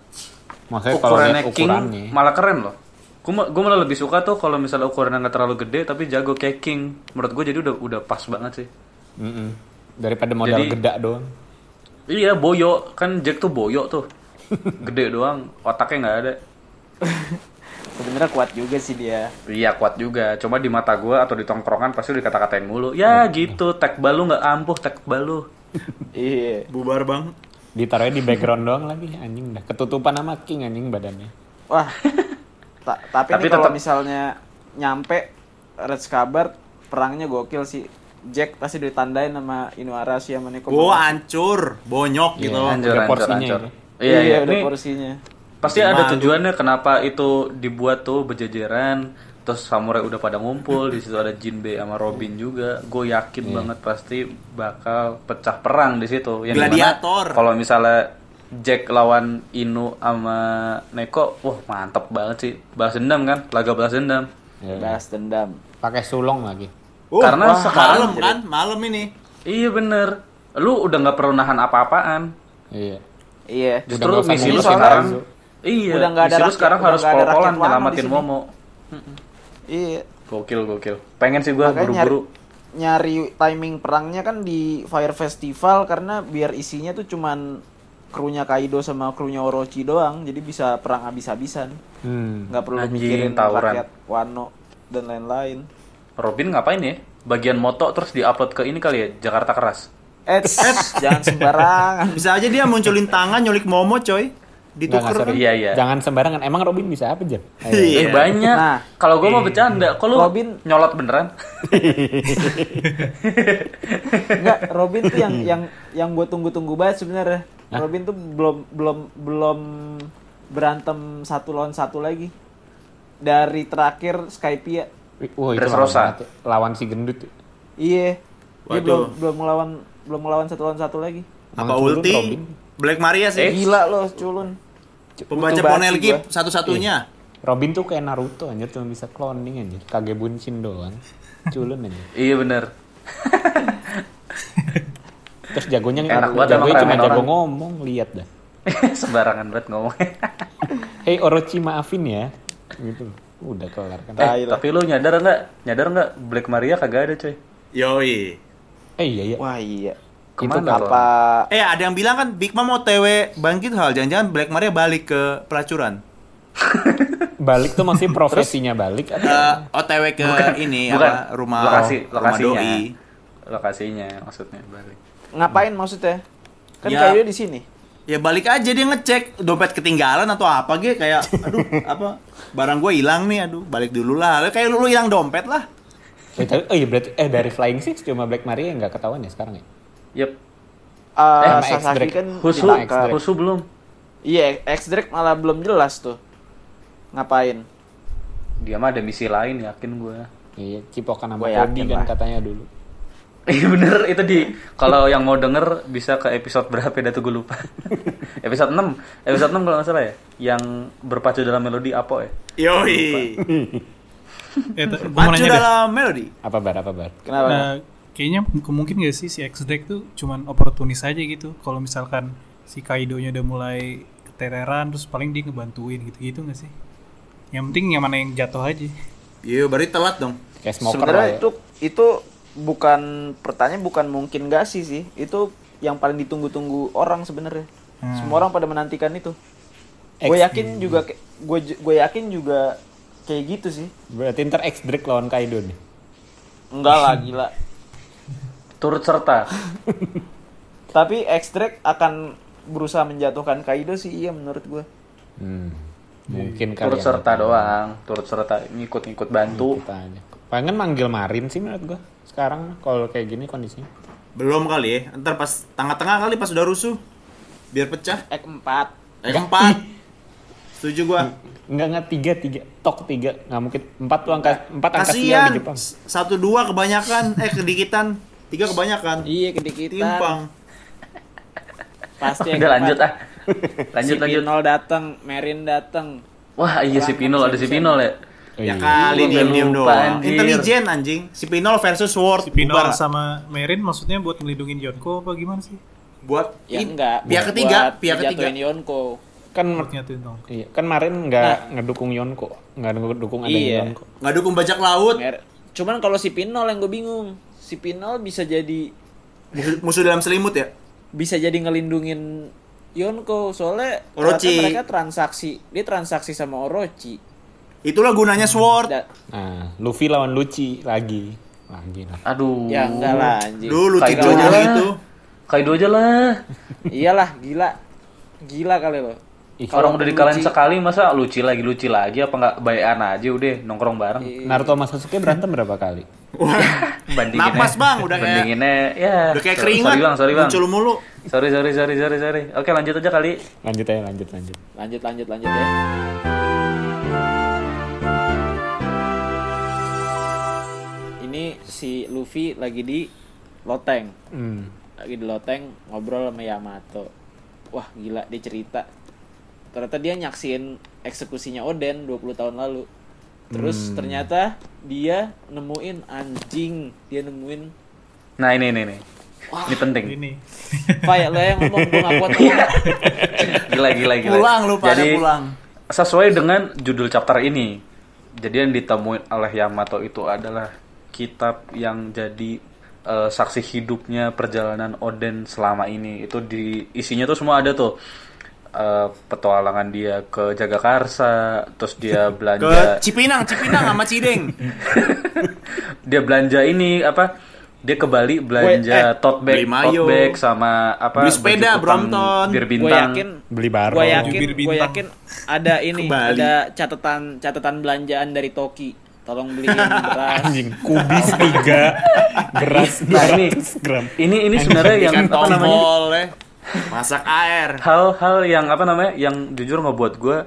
Maksudnya kalau ukurannya lihat king ukurannya. malah keren loh. Gua, ma- gua malah lebih suka tuh kalau misalnya ukurannya nggak terlalu gede tapi jago kayak king. Menurut gua jadi udah udah pas banget sih. Mm-mm. Daripada modal Jadi- gedak doang. Iya, boyo. Kan Jack tuh boyo tuh. Gede doang, otaknya nggak ada. Sebenarnya kuat juga sih dia. Iya kuat juga, cuma di mata gua atau di tongkrongan pasti udah kata-katain mulu. Ya Iya. gitu, tek balu nggak ampuh, tek balu. Iya. Bubar bang. Ditaruhnya di background doang lagi anjing dah. Ketutupan sama king anjing badannya. Wah. Ta- tapi Tapi nih kalau tetap- misalnya nyampe Red Scabbard perangnya gokil sih. Jack pasti ditandain sama Inuarashi sama Neko. Gue hancur, bonyok Iya, gitu. Hancur, udah hancur, porsinya ya. hancur. ini. Iya, iya. udah Ini porsinya. pasti ada Malu. tujuannya kenapa itu dibuat tuh berjejeran. Terus samurai udah pada ngumpul, di situ ada Jinbe sama Robin juga. Gue yakin Iya. banget pasti bakal pecah perang di situ. Yang dimana Gladiator. Kalau misalnya Jack lawan Inu sama Neko, wah mantep banget sih. Balas dendam kan, laga balas dendam. Iya. Balas dendam. Pakai sulong lagi. Uh, Karena wah, sekarang malam jadi- kan, malam ini. Iya bener. Lu udah nggak perlu nahan apa-apaan. Iya. Iya. Justru nggak usah misi lu ngurusin sekarang. Arzu. Iya. Udah nggak ada misi lu rakyat- sekarang udah harus nggak ada pol-polan rakyat Wano nyelamatin di sini. Momo. Iya. Gokil gokil. Pengen sih gua Makanya buru-buru. nyari timing perangnya kan di Fire Festival karena biar isinya tuh cuman krunya Kaido sama krunya Orochi doang jadi bisa perang habis-habisan Hmm. nggak perlu Anjing, mikirin tawuran. rakyat Wano dan lain-lain Robin ngapain ya? Bagian moto terus diupload ke ini kali ya Jakarta Keras. eh jangan sembarangan Bisa aja dia munculin tangan nyulik Momo coy. Nggak, nggak, Ditukar kan? sorry. Iya, iya. Jangan sembarangan. Emang Robin bisa apa, Jam? Ayo. Iya. Eh banyak. Nah. Kalau gua mau bercanda, kok lu Robin- nyolot beneran? Enggak, Robin tuh yang yang yang gue tunggu-tunggu banget sebenarnya. Iya. Hah? Robin tuh belum belum belum berantem satu lawan satu lagi. Dari terakhir ya. Skypiea. Wih, Wah, itu Dress lawan, Rosa. banget ya. lawan si gendut. tuh. Iya. Dia Waduh. belum belum melawan belum melawan satu lawan satu lagi. apa Emang culun ulti? Robin. Black Maria Eh, sih. Gila loh, culun. Pembaca Butuh basi Ponel gua. Gip satu-satunya. Robin tuh kayak Naruto anjir, cuma bisa cloning anjir. Kage buncin doang. Culun anjir. iya bener. Terus jagonya Enak Naruto. banget emang Jagonya cuma ramen jago orang. ngomong, lihat dah. Sembarangan banget ngomongnya. Hei Orochi maafin ya. Gitu. Udah kelar kan. eh, tapi lu nyadar nggak? Nyadar nggak? Black Maria kagak ada coy. Yoi. Eh iya iya. Wah, iya. Kemana Itu lo? apa? Eh ada yang bilang kan Big Mom mau TW bangkit gitu hal jangan-jangan Black Maria balik ke pelacuran. Balik tuh masih profesinya balik kan? Eh, atau OTW ke ini Bukan. apa rumah lokasi rumah lokasinya. doi. Lokasinya maksudnya balik. Ngapain maksudnya? Kan Ya. Kaido di sini. Ya balik aja dia ngecek dompet ketinggalan atau apa gitu kayak aduh apa barang gue hilang nih aduh balik dulu lah. Kayak lu lu hilang dompet lah. Eh, tapi- oh iya berarti eh dari Flying Six cuma Black Maria yang nggak ketahuan ya sekarang ya. Yep. Eh, sama Sasaki X-Drake. kan Husu, ditangkap. X-Drake. Husu belum. Iya, X-Drake malah belum jelas tuh. Ngapain? Dia mah ada misi lain yakin gua. Iya, cipokan sama Gua Cody yakin kan lah. katanya dulu. Iya bener, itu di kalau yang mau denger bisa ke episode berapa ya, dah tuh gue lupa. episode 6, episode 6 kalau nggak salah ya, yang berpacu dalam melodi apa ya? Yoi. Eh, t- gua mau Maju nanya deh. dalam melodi. Apa bar apa bar? Kenapa? Nah, kayaknya mungkin gak sih si X-Drake tuh cuman oportunis aja gitu. Kalau misalkan si Kaido-nya udah mulai ketereran, terus paling dia ngebantuin gitu-gitu gak sih? Yang penting yang mana yang jatuh aja. Iya, berarti telat dong. ya. Kayak smoker lah sebenarnya ya. itu itu bukan pertanyaan bukan mungkin gak sih sih itu yang paling ditunggu-tunggu orang sebenarnya. Semua orang pada menantikan itu. Gue yakin juga gue gue yakin juga kayak gitu sih. Berarti ntar X Drake lawan Kaido nih. Enggak lah gila. Turut serta. Tapi X-Drake akan berusaha menjatuhkan Kaido sih iya menurut gue. Hmm. Mungkin kali ya. turut yang serta doang. Turut serta ngikut-ngikut bantu. kita aja. Pengen manggil Marin sih menurut gua. Sekarang kalau kayak gini kondisinya. Belum kali ya. Ntar pas tengah-tengah kali pas udah rusuh. Biar pecah. Ek 4. Eh, empat. Setuju gua. Enggak enggak tiga tiga tok tiga nggak mungkin empat tuh angka empat angka sial Kasian. di Jepang. S- Satu dua kebanyakan. Eh kedikitan. Tiga kebanyakan. Iya kedikitan. Timpang. Pasti Udah lanjut ah. Lanjut si lanjut. Pinol kan datang, Merin datang. Wah, iya si Pinol ada si Pinol ya. Oh, Ya iya. kali Gua diem-diem lupa, doang. anjir. Intelijen anjing. Si Pinol versus Sword. Si Pinol Bubar. sama Merin maksudnya buat ngelindungin Yonko apa gimana sih? buat Ya i- enggak. Pihak buat- ketiga, buat pihak ketiga. dijatuhin Yonko. kan Buat nyatuin dong. iya, kan Marin nggak ngedukung Yonko, nggak ngedukung ada Iya. Yonko. Nggak dukung bajak laut. Mer- Cuman kalau si Pinol yang gue bingung. Si Pinol bisa jadi Musuh, musuh dalam selimut ya. bisa jadi ngelindungin Yonko soalnya Orochi. ternyata mereka transaksi dia transaksi sama Orochi Itulah gunanya Sword. Da- Nah, Luffy lawan Luci lagi, lagi lah. Aduh. ya enggak lah anjing Dulu Kayak tidur gimana? gitu. Kaido aja lah. iyalah gila gila kali lo Orang udah dikalahin sekali masa lucu lagi lucu lagi apa nggak bayan aja udah nongkrong bareng. Iya. Naruto sama Sasuke berantem berapa kali? Bandinginnya- ya. Napas, Bang, udah kayak- bandinginnya ya. Udah kayak so- keringat. Sorry bang, sorry bang. Muncul mulu. Sorry sorry sorry sorry sorry. Oke lanjut aja kali. Lanjut aja, lanjut, lanjut. lanjut lanjut lanjut ya ini si Luffy lagi di loteng Hmm. lagi di loteng ngobrol sama Yamato wah gila dia cerita ternyata dia nyaksiin eksekusinya Oden 20 tahun lalu terus ternyata dia nemuin anjing dia nemuin Nah ini ini ini. Ini penting. Ini Pak lo yang ngomong gue gak kuat ngomong. Gila gila gila. Pulang lu pada Jadi, pulang. Sesuai dengan judul chapter ini, jadi yang ditemuin oleh Yamato itu adalah kitab yang jadi eh, saksi hidupnya perjalanan Oden selama ini. Itu di isinya tuh semua ada tuh. Eh, petualangan dia ke Jagakarsa, terus dia Ke belanja Cipinang, Cipinang sama Cideng. dia belanja ini apa? Dia ke Bali belanja Wait, eh, tote bag, beli mayo. tote bag sama apa? Beli sepeda, baju kutang Brompton. bir gue bintang. yakin Beli baro. gue yakin Bir gue bintang. yakin ada ini Kembali. ada catatan catatan belanjaan dari Toki tolong beliin beras Anjing, kubis tiga, beras Nah, ini 200 gram. ini ini sebenarnya yang Ikan apa namanya? tombol ya. Masak air. hal-hal yang apa namanya yang jujur ngebuat gue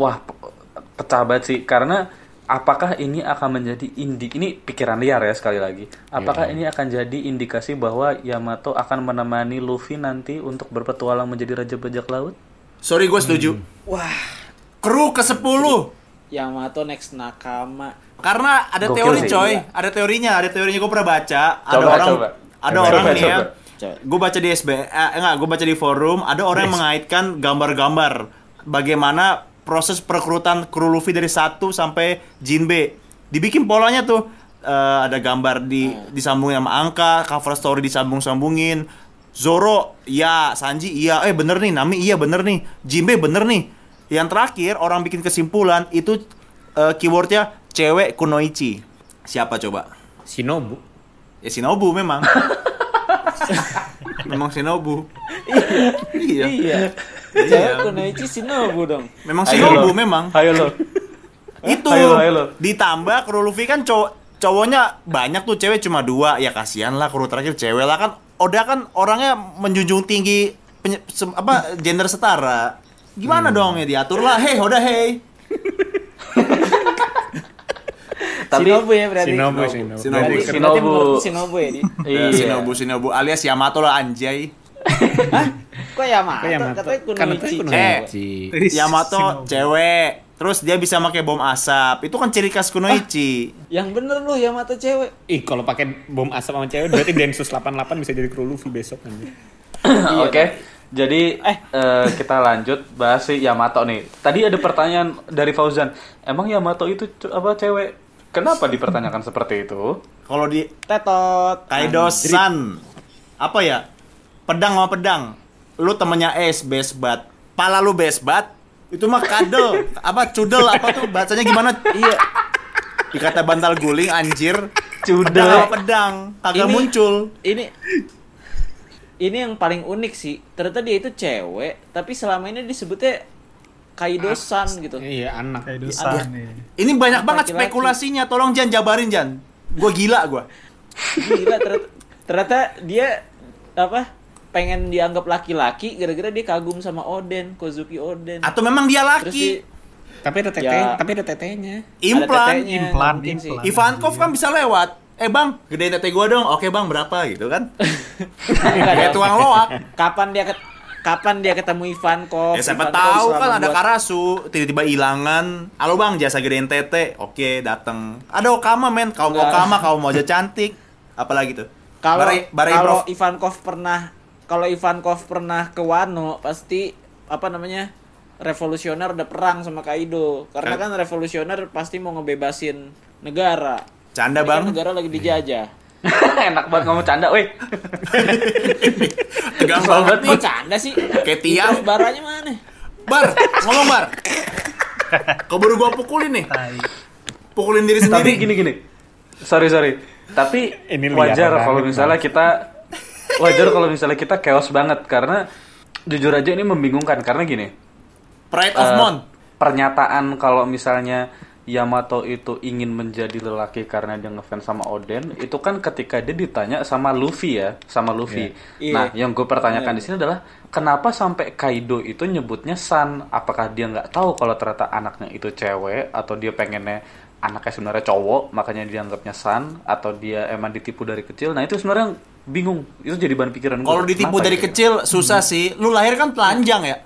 wah pe- pecah banget sih karena apakah ini akan menjadi indi ini pikiran liar ya sekali lagi apakah Iya. ini akan jadi indikasi bahwa Yamato akan menemani Luffy nanti untuk berpetualang menjadi raja bajak laut Sorry gue setuju. Hmm. wah Kru ke 10 Yamato next Nakama Karena ada Gokil teori sih. coy, ada teorinya, ada teorinya gue pernah baca, ada Coba, orang coba. ada Coba, orang coba, nih ya. coba. Coba. Gue baca di SB, eh, enggak, gue baca di forum, ada orang yang mengaitkan gambar-gambar bagaimana proses perekrutan kru Luffy dari satu sampai Jinbe. Dibikin polanya tuh eh, ada gambar di disambungin sama angka, cover story disambung-sambungin. Zoro, iya, Sanji, iya, eh bener nih, Nami, iya bener nih, Jinbe bener nih. Yang terakhir orang bikin kesimpulan itu eh, keywordnya cewek kunoichi. Siapa coba? Shinobu. Ya Shinobu memang. memang Shinobu. iya. iya cewek Kunoichi Shinobu dong Memang Shinobu memang. ayo lo Itu. Ayo, ayo, lo. Ditambah kru Luffy kan cowok cowoknya banyak tuh cewek cuma dua ya kasihan lah kru terakhir cewek lah kan Oda kan orangnya menjunjung tinggi penye- sem- apa gender setara gimana Hmm. dong ya diatur lah hei Oda hei tapi Shinobu ya berarti Shinobu, Shinobu. Shinobu Berarti- Shinobu. berarti menurut Shinobu ya di iya. Shinobu Shinobu alias Yamato lah anjay kok Yamato, Kok Yamato? katanya Iya, Karena Kunoichi katanya Kunoichi. Yamato cewek terus dia bisa pakai bom asap itu kan ciri khas kunoichi yang bener lu Yamato cewek Ih, kalau pakai bom asap sama cewek berarti Densus 88 bisa jadi kru Luffy besok kan? anjir. Iya, Oke. Jadi eh kita lanjut bahas si Yamato nih. Tadi ada pertanyaan dari Fauzan. Emang Yamato itu cu- apa cewek? Kenapa dipertanyakan seperti itu? kalau di tetot Kaido San apa ya pedang sama pedang lu temennya es besbat pala lu besbat itu mah kadel apa cudel apa tuh bacanya gimana iya dikata bantal guling anjir pedang sama pedang kagak Ini- muncul ini ini yang paling unik sih ternyata dia itu cewek tapi selama ini disebutnya kaidosan gitu Iya anak. kayak dosa nih ini banyak banget Laki-laki. spekulasinya tolong Jan jabarin Jan gue gila gue gila ternyata, ternyata dia apa pengen dianggap laki-laki gara-gara dia kagum sama Oden Kozuki Oden atau memang dia terus laki dia Tapi ada tete, Ya. tapi ada tetenya. ada implan tetenya, implan, mungkin sih. implan. Ivankov kan bisa lewat eh bang gedein tete gue dong oke bang berapa gitu kan Enggak kayak dong. tuang loak kapan dia ket- kapan dia ketemu Ivankov Ya siapa Ivankov tahu selama kan ada buat- Karasu tiba-tiba hilangan. Halo Bang, jasa gedein tete. Oke, dateng. Ada Okama men, kaum Enggak. Okama, kaum Moja cantik. Apalagi tuh. kalau Bare- Bare kalau Prof. Ivankov pernah kalau Ivankov pernah ke Wano pasti apa namanya revolusioner udah perang sama Kaido karena Eh. kan revolusioner pasti mau ngebebasin negara canda Ini kan Bang. negara lagi dijajah Enak banget ngomong canda, weh. Tegang banget Kok nih. canda sih Kayak tiang. Terus baranya mana Bar, ngomong Bar. Keburu gua pukulin nih. Pukulin diri Tapi sendiri. gini gini. Sorry sorry. Tapi Ini liar wajar banget, kalau misalnya kita wajar kalau misalnya kita chaos banget karena jujur aja ini membingungkan karena gini. Pride of Eh, Mon. Pernyataan kalau misalnya Yamato itu ingin menjadi lelaki karena dia ngefans sama Oden, itu kan ketika dia ditanya sama Luffy ya, sama Luffy. Iya. Nah, yang gue pertanyakan di sini adalah kenapa sampai Kaido itu nyebutnya San? Apakah dia nggak tahu kalau ternyata anaknya itu cewek atau dia pengennya anaknya sebenarnya cowok, makanya dianggapnya San atau dia emang ditipu dari kecil? Nah, itu sebenarnya bingung. Itu jadi bahan pikiran gue. Kalau ditipu Kenapa dari gitu? kecil susah sih. Lu lahir kan telanjang ya.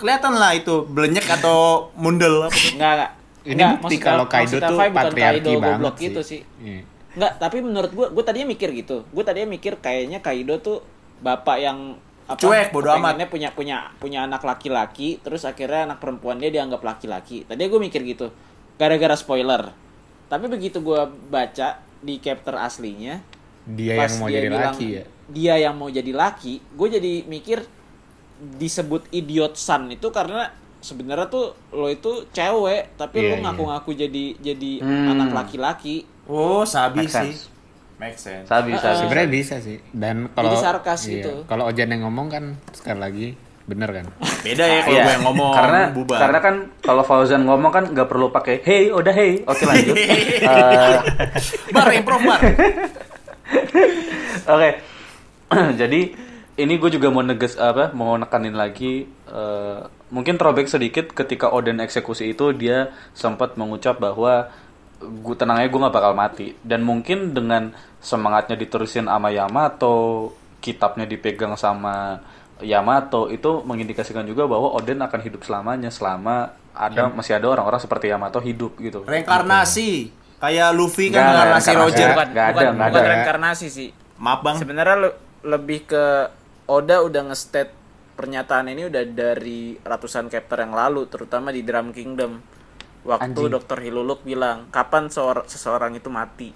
Kelihatan lah itu belenyek atau mundel. Enggak, enggak. Ini Enggak, bukti maksud- kalau maksud Kaido tuh Tafai bukan patriarki Kaido banget goblok sih. gitu sih. Iya. Enggak, tapi menurut gua gua tadinya mikir gitu. Gua tadinya mikir kayaknya Kaido tuh bapak yang apa, Cuek, bodo amat. kepengennya punya punya punya anak laki-laki, terus akhirnya anak perempuan dia dianggap laki-laki. Tadinya gua mikir gitu. Gara-gara spoiler. Tapi begitu gua baca di chapter aslinya, Dia yang pas mau dia jadi bilang laki ya. dia yang mau jadi laki gue jadi mikir disebut idiot son itu karena sebenarnya tuh lo itu cewek tapi Iya, lo ngaku-ngaku jadi jadi Hmm. anak laki-laki Oh, sabi Make sense. sih. Make sense. Sabi, sabi. Sebenarnya bisa sih. Dan kalau iya, Jadi sarkas gitu. Kalau Ojan yang ngomong kan sekali lagi bener kan. Beda ya kalau Iya. gue yang ngomong karena bubar. karena kan kalau Fauzan ngomong kan nggak perlu pakai hey udah hey oke lanjut Eh, Bar improv bar. oke jadi ini gue juga mau neges apa mau nekanin lagi eh, mungkin throwback sedikit ketika Oden eksekusi itu dia sempat mengucap bahwa gue tenang aja gue nggak bakal mati dan mungkin dengan semangatnya diterusin sama Yamato kitabnya dipegang sama Yamato itu mengindikasikan juga bahwa Oden akan hidup selamanya selama ada masih ada orang-orang seperti Yamato hidup gitu. Reinkarnasi. Kayak Luffy Nggak, kan reinkarnasi reinkarnasi. Roger Bukan. kan. Nggak ada, nggak ada. reinkarnasi sih Maaf Bang. sebenarnya le- lebih ke Oda udah nge-state pernyataan ini udah dari ratusan chapter yang lalu terutama di Drum Kingdom waktu Dr. Hiluluk bilang kapan seor- seseorang itu mati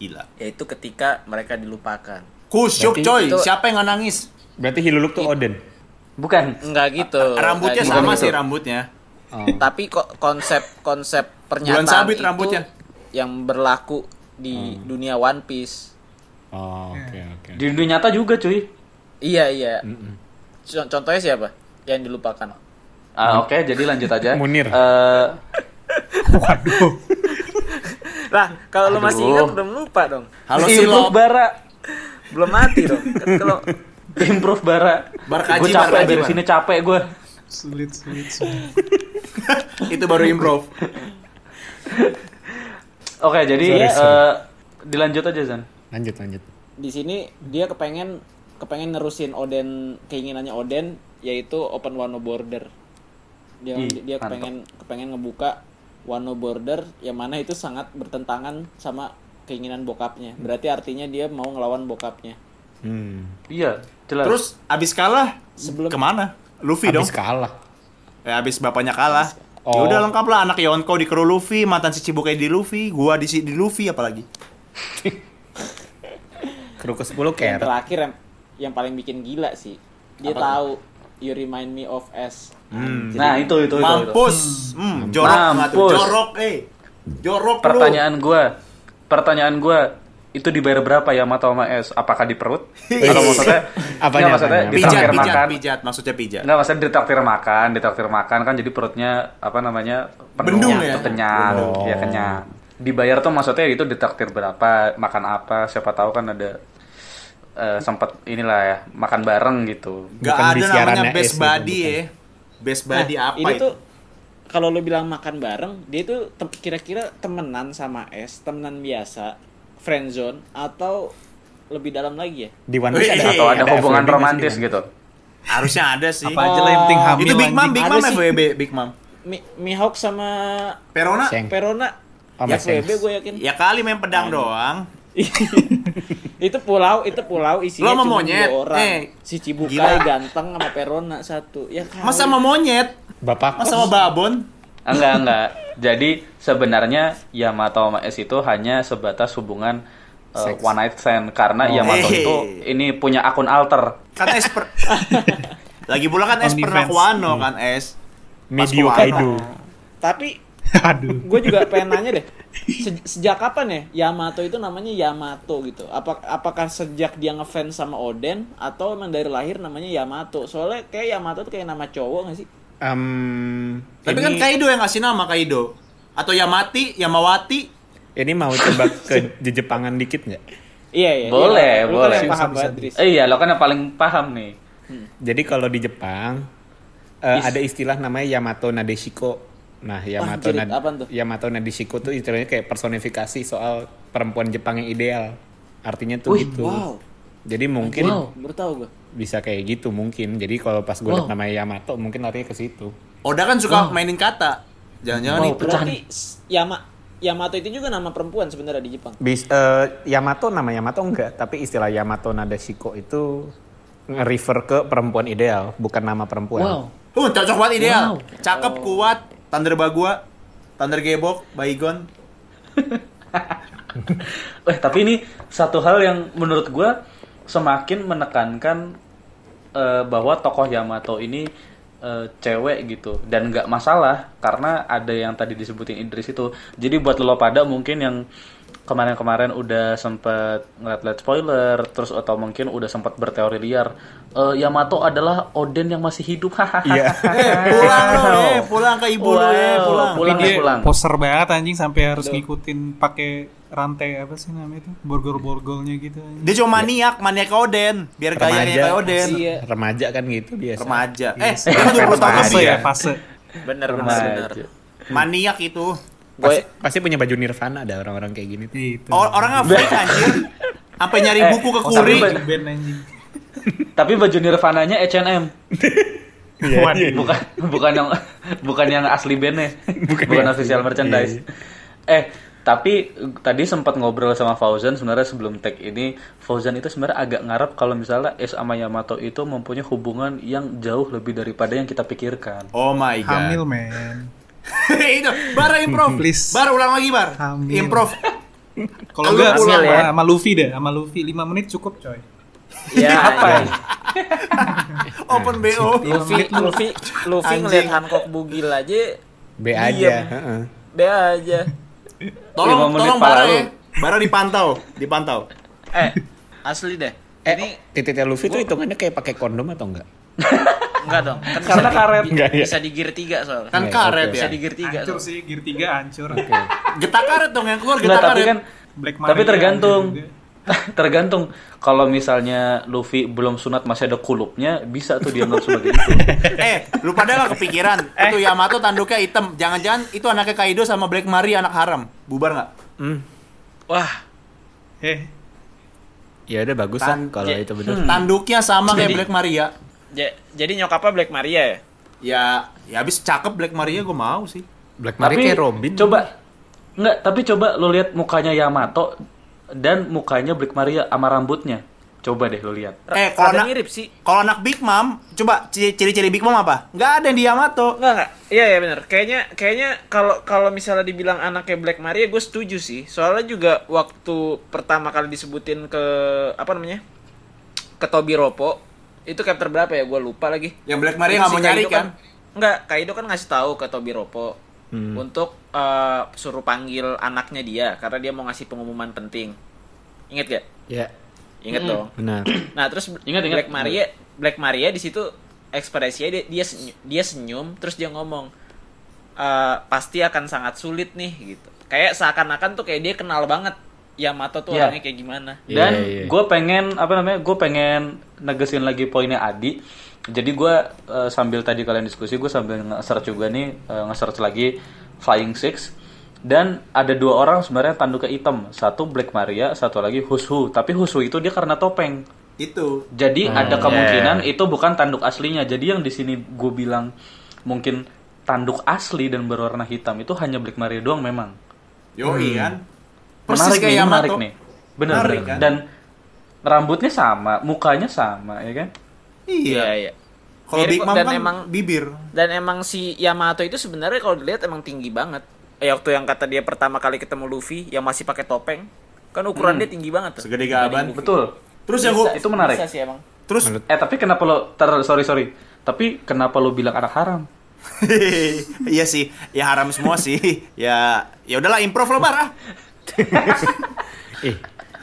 Gila. yaitu ketika mereka dilupakan Kusyuk coy, itu- siapa yang nggak nangis? Berarti Hiluluk tuh Oden. Bukan. Enggak gitu. Rambutnya Enggak sama gitu. sih rambutnya. Tapi kok konsep-konsep pernyataan sabit itu rambutnya. yang berlaku di Hmm. dunia One Piece. Oh, oke oke. Di dunia nyata juga cuy. Iya, iya. Co- Contohnya siapa? Yang dilupakan. Ah, Oke, jadi lanjut aja. Munir. Eh, Lah, kalau lu Aduh. masih ingat belum lupa dong. Halo improve Silo. bara, Belum mati dong. Kan Kalau improve bara. Bar kaji, Gue capek bar kaji, dari Bar. sini capek gue. sulit sulit sulit Itu baru improv. Oke, jadi Sorry, eh, dilanjut aja Zan. Lanjut lanjut. di sini dia kepengen kepengen nerusin Oden keinginannya Oden yaitu open Wano border dia Ih, dia mantap. kepengen kepengen ngebuka Wano border yang mana itu sangat bertentangan sama keinginan bokapnya berarti artinya dia mau ngelawan bokapnya Hmm. Iya, jelas. Terus abis kalah Sebelum- kemana? Luffy dong. Habis kalah. Ya, abis bapaknya kalah. Oh. Ya udah lengkap lah anak Yonko di kru Luffy, mantan si Cibuke di Luffy, gua di si- di Luffy apalagi. Kru ke 10 yang care. Iya. terakhir yang yang paling bikin gila sih. Dia tahu you remind me of S. Nah, itu itu itu. itu. Mampus. Hmm, jorok nggak tuh? Mampus. Jorok, eh. Jorok lu. Pertanyaan gua. Pertanyaan gua itu dibayar berapa ya Yamato sama S? Apakah di perut? Atau maksudnya Apanya, nggak, maksudnya apanya? Iya. di pijat, traktir pijat, makan. pijat, maksudnya pijat. Enggak, Nah, maksudnya di traktir makan, di traktir makan kan jadi perutnya apa namanya? penuh, Bendung ya? tuh kenyang, ya kenyang. Dibayar tuh maksudnya itu di traktir berapa, makan apa, siapa tahu kan ada eh, sempat inilah ya, makan bareng gitu. Bukan di Gak ada namanya siarannya best S itu, body bukan. ya. Best body Nah, apa ya? ini itu? tuh kalau lo bilang makan bareng, dia tuh tem- kira-kira temenan sama S, temenan biasa, friendzone atau lebih dalam lagi ya? Di One Piece Wih, ada Atau ada hubungan FWB nggak sih romantis di One Piece? gitu. Harusnya ada sih. Apa aja lah yang penting hamil. itu Big Mom, anjing. Big Ada Mom sih. FWB, Big Mom. Mi Mihawk sama Perona, Seng. Perona Oh, ya Mas Shanks. FWB gue yakin. ya kali main pedang doang. itu pulau, itu pulau Lo isinya sama cuma monyet? dua orang. Eh, si Cibukai gila. ganteng sama Perona satu. Ya kali. Masa sama monyet? Bapak Masa sama babon? Enggak, enggak. Jadi sebenarnya Yamato sama S itu hanya sebatas hubungan eh, one night Oh. stand karena Yamato Hey. itu ini punya akun alter. Kan es per... Lagi pula kan es On pernah defense. ke Wano kan es. Pas Medio ke Wano. Kaido. Tapi Aduh. gue juga pengen nanya deh se- sejak kapan ya Yamato itu namanya Yamato gitu apa apakah sejak dia ngefans sama Oden atau emang dari lahir namanya Yamato soalnya kayak Yamato tuh kayak nama cowok gak sih Em, Tapi ini, kan Kaido yang ngasih nama Kaido. Atau Yamati, Yamawati. ini mau coba ke Jepangan dikit nggak? iya iya Boleh, iya. Lu boleh. kan yang paham Bisa, banget bisa. Tris. Eh, iya, lo kan yang paling paham nih. Jadi kalau di Jepang eh, Is- ada istilah namanya Yamato Nadeshiko. Nah, Yamato jerit, Nad- apaan tuh? Yamato Nadeshiko tuh istilahnya kayak personifikasi soal perempuan Jepang yang ideal. Artinya tuh Wih, gitu. wow Jadi mungkin wow baru tahu gue bisa kayak gitu mungkin. Jadi kalau pas gue liat namanya Yamato mungkin larinya ke situ. Oda kan suka mainin kata. Jangan-jangan Oh, Wow. itu. berarti s- Yama Yamato itu juga nama perempuan sebenarnya di Jepang Bis, eh, Yamato nama Yamato enggak, tapi istilah Yamato Nadeshiko itu nge-refer ke perempuan ideal, bukan nama perempuan. Uh, cocok banget ideal. Cakep, kuat, Thunder Bagua, Thunder Gebok, Baygon. Eh, tapi ini satu hal yang menurut gua semakin menekankan eh, bahwa tokoh Yamato ini eh, cewek gitu dan nggak masalah karena ada yang tadi disebutin Idris itu. Jadi buat lo pada mungkin yang kemarin-kemarin udah sempet ngeliat-liat spoiler terus atau mungkin udah sempat berteori liar eh, Yamato adalah Oden yang masih hidup hahaha Eh, pulang lo, eh, pulang ke ibu lo, eh, Wow, pulang. pulang Dia ya, pulang poser banget anjing sampai harus ngikutin pakai rantai apa sih namanya itu? Borgol-borgolnya gitu. anjing. Dia cuma maniak, maniak ke Oden, biar gayanya Remaja. kayak Oden. iya Remaja kan gitu biasa. Remaja. Iya. Eh, dia kan 20 tahun Fase lebih ya. ya, fase. Bener, bener, bener. Remaja. Maniak itu. Pasti, pasti punya baju Nirvana ada orang-orang kayak gini. tuh. Gitu. Or- orang ngefake anjir. Sampai nyari Eh, buku ke oh, kuri. sampai- band anjing. tapi baju Nirvananya H&M Waduh. bukan bukan yang bukan yang asli bandnya bukan, official merchandise eh tapi eh, tadi sempat ngobrol sama Fauzan sebenarnya sebelum tag ini Fauzan itu sebenarnya agak ngarep kalau misalnya Es sama Yamato itu mempunyai hubungan yang jauh lebih daripada yang kita pikirkan Oh my god. Hamil, men. itu, bara improv. Please. Bar ulang lagi, Bar. Hamil. Improv. Kalau Lu enggak pulang sama, ya. sama Luffy deh, sama Luffy 5 menit cukup, coy. Iya, ya apa Open BO. Luffy Luffy Luffy Anjing. ngeliat Hancock Bugil aja B aja. Diam. heeh. be aja Lima Tolong, menit tolong bara lalu. ya. Bara dipantau, dipantau. eh asli deh Eh, titiknya Luffy tuh hitungannya kayak pakai kondom atau enggak? Enggak dong. Kan Karena di- karet. bi- Enggak, iya. Bisa di gear 3 soalnya. Kan Iya, karet oke. ya. Bisa di gear 3 Hancur soalnya. sih, Gear 3 hancur. Getak karet dong yang keluar Nggak, getak tapi ya. karet. kan Black tapi Maria gitu ya. tergantung hancur juga. tergantung kalau misalnya Luffy belum sunat masih ada kulupnya bisa tuh dianggap sebagai itu Eh, lu pada gak kepikiran? Eh. Itu Yamato tanduknya hitam. Jangan-jangan itu anaknya Kaido sama Black Mari anak haram. Bubar nggak? Wah, Eh, Ya udah bagus lah Tan- kalau itu bener. Tanduknya sama kayak Hmm. Jadi- Black Maria. ja- jadi nyokapnya Black Maria ya? Ya, ya habis cakep Black Maria gue mau sih. Black Mari kayak Robin. Coba enggak, tapi coba lo lihat mukanya Yamato dan mukanya Black Maria sama rambutnya. Coba deh lo lihat. Eh, Rada kalau anak- mirip sih. Kalau anak Big Mom, coba ci- ciri-ciri Big Mom apa? Nggak ada yang di Yamato. Enggak enggak. Iya ya benar. Kayaknya kayaknya kalau kalau misalnya dibilang anaknya Black Maria gue setuju sih. Soalnya juga waktu pertama kali disebutin ke apa namanya? ke ke Tobiropo itu chapter berapa ya gue lupa lagi Yang Black Maria nggak mau Si Kaido nyari kan? Enggak, Kaido kan ngasih tahu ke Tobiropo untuk eh, suruh panggil anaknya dia karena dia mau ngasih pengumuman penting. Ingat gak? Ya, Ingat dong. benar. Nah, terus Ingat, ingat. Black Maria Black Maria di situ ekspresinya dia dia senyu- dia senyum terus dia ngomong "Eh, pasti akan sangat sulit nih gitu. Kayak seakan-akan tuh kayak dia kenal banget Yamato tuh Iya. orangnya kayak gimana. Dan Iya, iya. gue pengen apa namanya? Gue pengen negesin lagi poinnya Adi. Jadi gue eh, sambil tadi kalian diskusi, gue sambil nge-search juga nih, eh, nge-search lagi Flying Six. Dan ada dua orang sebenarnya tanduknya hitam, satu Black Maria, satu lagi Husu. Tapi Husu itu dia karena topeng. Itu. Jadi Hmm, iya. ada kemungkinan itu bukan tanduk aslinya. Jadi yang di sini gue bilang mungkin tanduk asli dan berwarna hitam itu hanya Black Maria doang memang. Yoi kan. menarik nih, Yamato. menarik nih. Bener, Menarik, bener. kan? Dan rambutnya sama, mukanya sama, ya kan? Iya. iya. Kalau Mirip Big kok, Mom dan kan emang- bibir. Dan emang si Yamato itu sebenarnya kalau dilihat emang tinggi banget. Eh waktu yang kata dia pertama kali ketemu Luffy yang masih pakai topeng, kan ukuran dia tinggi banget tuh. Segede gaban. Hmm. Betul. Terus Iya, yang gua itu menarik. Bisa sih emang. terus Eh tapi kenapa lo tar, sorry sorry. Tapi kenapa lo bilang anak haram? iya sih, ya haram semua sih. Ya ya udahlah improve lo marah. Eh,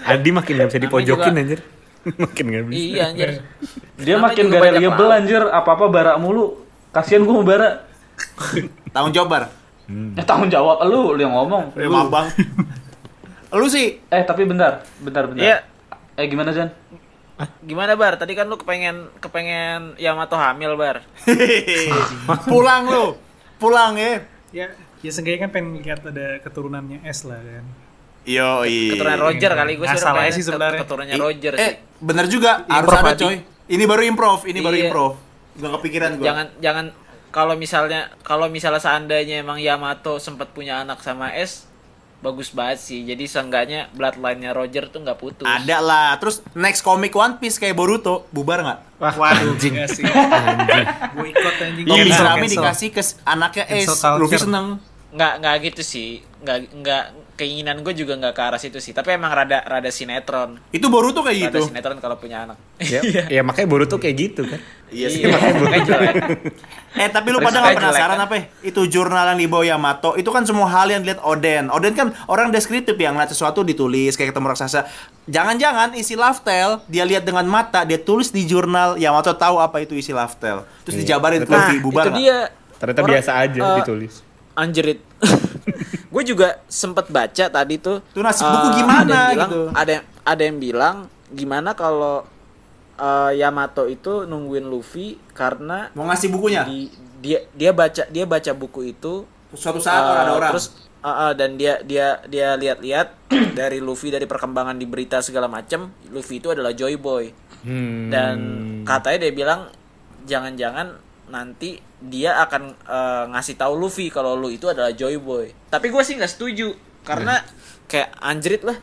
Adi makin nggak bisa dipojokin juga- anjir. makin nggak bisa. Iya anjir. Dia Namanya makin juga gak banyak reliable lah. anjir, apa-apa barak mulu. Kasihan gue mau barak. Tanggung jawab Bar. Hmm. Ya, tanggung jawab lu, lu yang ngomong. Ya, maaf bang. lu sih Eh tapi bentar, bentar bentar. Iya. Eh gimana Jan? Gimana Bar? Tadi kan lu kepengen kepengen Yamato hamil Bar. pulang lu, pulang ya. Ya, ya seenggaknya kan pengen lihat ada keturunannya S lah kan. Yoi. Keturunan Roger kali gue Nggak sebenarnya salah pengen sih ke- sebenarnya. Keturunannya I- Roger eh, sih. bener juga harus Improv, ada Adi. coy. Ini baru improv, ini baru Iya. improv. Gak kepikiran gua. Jangan jangan kalau misalnya kalau misalnya seandainya emang Yamato sempat punya anak sama S bagus banget sih. Jadi seenggaknya bloodline-nya Roger tuh nggak putus. Ada lah. Terus next comic One Piece kayak Boruto, bubar nggak? Wah, anjing. Iya sih. gue ikut anjing. Topi Cancel, serami cancel. Iya, dikasih ke s- anaknya Cancel Ace, Luffy culture. seneng. nggak nggak gitu sih nggak nggak keinginan gue juga nggak ke arah situ sih tapi emang rada rada sinetron Itu Boruto kayak rada gitu. sinetron kalau punya anak Ya, ya makanya Boruto kayak gitu kan. iya sih makanya jelek Eh tapi lu Terus pada nggak kayak jelek, penasaran kan? apa? ya? Itu jurnal yang dibawa Yamato itu kan semua hal yang dilihat Oden. Oden kan orang deskriptif yang ngeliat sesuatu ditulis kayak ketemu raksasa. Jangan-jangan isi love tale dia lihat dengan mata dia tulis di jurnal Yamato tahu apa itu isi love tale. Terus dijabarin ke nah Luffy bubar. itu nggak? dia Ternyata Orang, biasa aja eh, ditulis. anjerit gue juga sempet baca tadi tuh Tuh, nasib eh, buku gimana ada yang bilang, gitu. ada yang- ada yang bilang gimana kalau eh, Yamato itu nungguin Luffy karena Mau ngasih bukunya? di, dia dia baca dia baca buku itu Suatu saat Uh, orang ada orang. Terus uh, uh, dan dia dia dia lihat-lihat dari Luffy dari perkembangan di berita segala macam, Luffy itu adalah Joy Boy. Hmm. Dan Hmm. katanya dia bilang jangan-jangan nanti dia akan uh, ngasih tahu Luffy kalau lu itu adalah Joy Boy. Tapi gue sih nggak setuju karena Iya. kayak anjrit lah.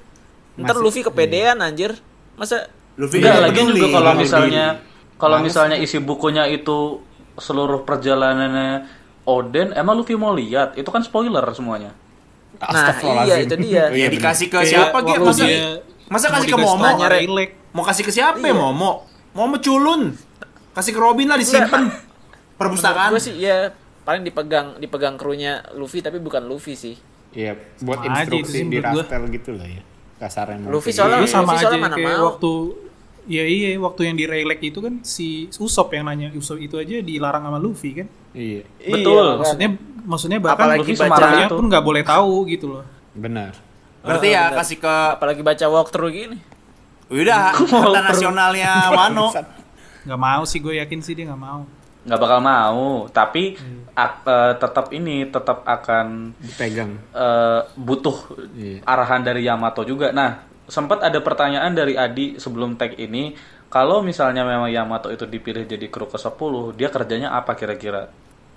Ntar Luffy kepedean anjir. Masa Luffy Enggak, nggak lagi peduli. juga kalau Nah, Nggak misalnya peduli. kalau misalnya isi bukunya itu seluruh perjalanannya Oden, emang Luffy mau lihat? Itu kan spoiler semuanya. nah iya itu dia. ya dikasih ke Kayak Iya, siapa gitu waktu masa dia masa kasih mau ke dikasih Momo tahu Re. Rilek. mau kasih ke siapa Iya. ya Momo Momo culun kasih ke Robin lah disimpan perpustakaan Gue sih ya paling dipegang dipegang krunya Luffy tapi bukan Luffy sih. Iya, buat Sama aja itu instruksi sih di menurut gua. rastel gitu lah ya. Kasarnya mungkin. Luffy soalnya Lu Iya, sama Luffy aja soalnya mana kayak mau. waktu Iya iya waktu yang di Raylek itu kan si Usop yang nanya Usop itu aja dilarang sama Luffy kan. Iya, Betul. Maksudnya maksudnya bahkan kan. Apalagi Luffy baca semarahnya itu. pun nggak boleh tahu gitu loh. benar. berarti ya kasih ke apalagi baca walkthrough gini udah harta nasionalnya Wano Nggak mau sih gue yakin sih dia nggak mau. Nggak bakal mau, tapi ak- eh, tetap ini tetap akan Dipegang. eh, butuh Iya. arahan dari Yamato juga. Nah, sempat ada pertanyaan dari Adi sebelum tag ini, kalau misalnya memang Yamato itu dipilih jadi kru ke-10, dia kerjanya apa kira-kira?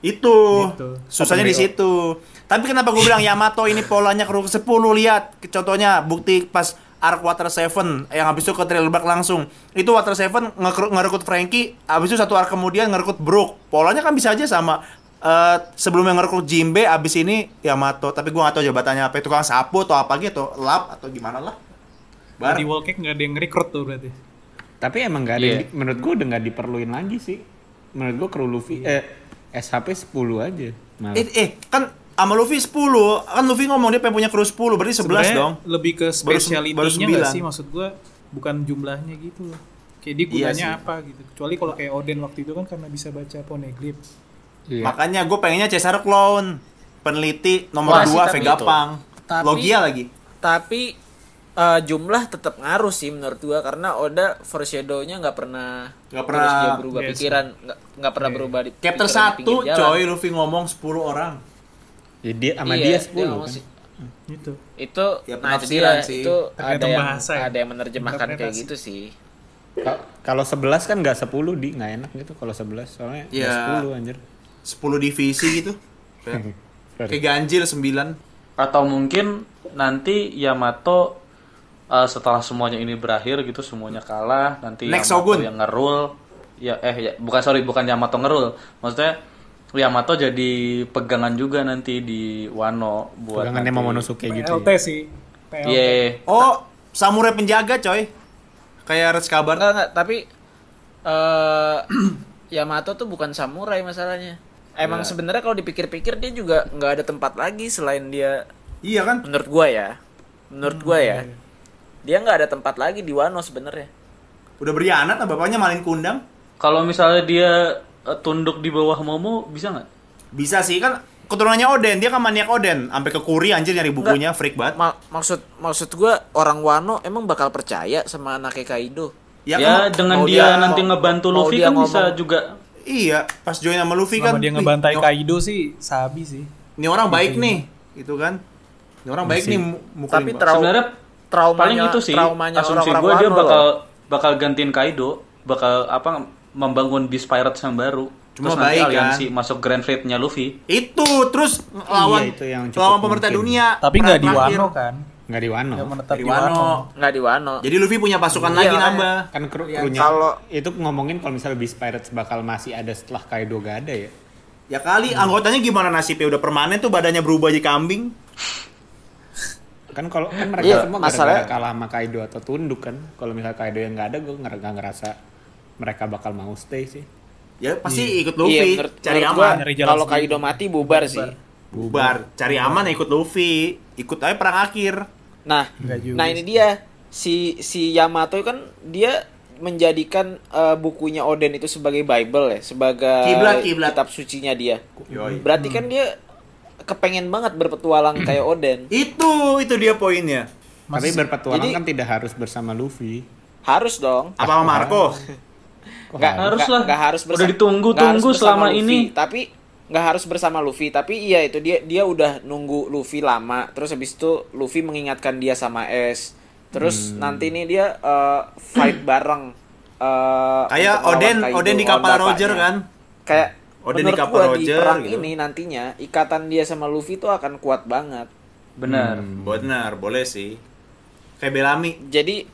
itu Gitu. susahnya di situ tapi kenapa gue bilang Yamato ini polanya ke 10 lihat contohnya bukti pas Arc Water Seven yang habis itu ke Thriller langsung itu Water Seven nge- ngerekut Frankie habis itu satu arc kemudian ngerekut Brook polanya kan bisa aja sama Eh, sebelumnya ngerekut Jimbe habis ini Yamato tapi gue gak tahu jabatannya apa tukang sapu atau apa gitu lap atau gimana lah Bar. Di Wallcake nggak ada yang rekrut tuh berarti. Tapi emang gak ada yang Iya. di- menurut gua udah gak diperluin lagi sih. Menurut gua kru Luffy Iya. eh SHP 10 aja. Malah. Eh, eh kan sama Luffy 10, kan Luffy ngomong dia pengen punya kru 10, berarti 11 Sebenarnya dong. Lebih ke Baru se- spesialitinya baru nggak sembilan. sih maksud gua bukan jumlahnya gitu loh. Kayak dia Iya gunanya sih. apa gitu. Kecuali kalau kayak Oden waktu itu kan karena bisa baca poneglyph. Iya. Makanya gue pengennya Cesar Clown, peneliti nomor Wah, sih, 2 tapi Vega itu. Pang, Tapi- Logia lagi. tapi eh, jumlah tetap ngaruh sih menurut gua karena Oda foreshadow-nya nggak pernah Nggak terus pernah. dia berubah Yes. Iya. pikiran nggak nggak pernah berubah di Chapter pikiran di 1 pinggir jalan. coy Luffy ngomong 10 orang. Ya, dia sama Iya, dia dia 10 ngomong kan. sih. Itu. itu Ya, nah itu penafsiran dia, sih. itu ada Tergantung yang bahasa ya. ada yang menerjemahkan kayak Interpretasi. gitu sih Ka- Kalau 11 kan gak 10 di nggak enak gitu kalau 11 soalnya nggak Iya. 10 anjir. 10 divisi gitu. Kayak Sorry. kayak ganjil 9. atau mungkin nanti Yamato eh, setelah semuanya ini berakhir gitu semuanya kalah nanti Next Yamato Shogun. yang ngerul ya eh ya, bukan sorry bukan Yamato ngerul maksudnya Yamato jadi pegangan juga nanti di Wano buat Pegangannya nanti- Momonosuke gitu. PLT Ya. sih. PLT. Iya. Oh, samurai penjaga coy. Kayak Red Kabar. enggak enggak tapi eh Yamato tuh bukan samurai masalahnya emang Iya. sebenarnya kalau dipikir-pikir dia juga nggak ada tempat lagi selain dia Iya kan? menurut gua ya menurut gua ya Hmm, iya. dia nggak ada tempat lagi di Wano sebenarnya Udah berianat lah bapaknya malin kundang. Kalau misalnya dia eh, tunduk di bawah Momo bisa nggak? Bisa sih kan keturunannya Oden, dia kan maniak Oden, sampai ke Kuri anjir nyari bukunya, freak banget. Ma- maksud maksud gua orang Wano emang bakal percaya sama anaknya Kaido Ya, kan, dengan mau dia, nanti mau- ngebantu mau Luffy dia kan bisa ngomong. juga. Iya, pas join sama Luffy kan. Selama dia "Wih, ngebantai ini- Kaido sih sabi sih. Ini orang baik nih, gitu kan. Ini orang baik nih, mu- mukulin tapi bak- terau- Sebenarnya traumanya paling itu sih traumanya asumsi orang-orang gue dia Wano bakal loh. bakal gantiin Kaido, bakal apa membangun Beast Pirates yang baru. Cuma Terus nanti baik, aliansi kan? masuk Grand Fleet-nya Luffy. Itu terus lawan Iya, itu yang cukup lawan pemerintah mungkin. dunia. Tapi nggak di Terakhir. Wano kan. Nggak di Wano. Iya, Nggak menetap Di di Wano. Wano. nggak di Wano Jadi Luffy punya pasukan lagi makanya. nambah. Kan kru Iya. krunya kalau- itu ngomongin kalau misalnya Beast Pirates bakal masih ada setelah Kaido gak ada ya. Ya kali Hmm. anggotanya gimana nasibnya udah permanen tuh badannya berubah jadi kambing. Kan kalau kan mereka Iya, semua masalahnya- gara-gara kalah sama Kaido atau tunduk kan. Kalau misalnya Kaido yang gak ada gue nggak ngerasa mereka bakal mau stay sih. Ya pasti Iya. ikut Luffy, Iya, menurut- cari menurut aman, gua, Nyari jalan kalau sendiri. Kaido mati bubar sih bubar, cari aman ya ikut Luffy, ikut aja perang akhir. nah Nggak juga nah ini dia si si Yamato kan dia menjadikan eh, bukunya Oden itu sebagai Bible ya sebagai Kiblat, kiblat. kitab sucinya dia Yoi. berarti kan dia kepengen banget Hmm. berpetualang kayak Oden Itu itu dia poinnya. Tapi berpetualang jadi- kan tidak harus bersama Luffy. harus dong Apa sama Marco? Kok nggak harus? harus lah. nggak- nggak harus Udah ditunggu-tunggu nggak harus bersama selama ini. Luffy. tapi nggak harus bersama Luffy tapi iya itu dia dia udah nunggu Luffy lama terus habis itu Luffy mengingatkan dia sama S terus Hmm. nanti nih dia eh, fight bareng eh, Kayak untuk melawan Oden, Kaido, Oden di lawan kapal bapaknya. Roger kan. kayak Oden di menurut kapal gua Roger, di perang gitu. ini nantinya ikatan dia sama Luffy itu akan kuat banget Benar. Hmm. Benar, boleh sih. Kayak Belami. jadi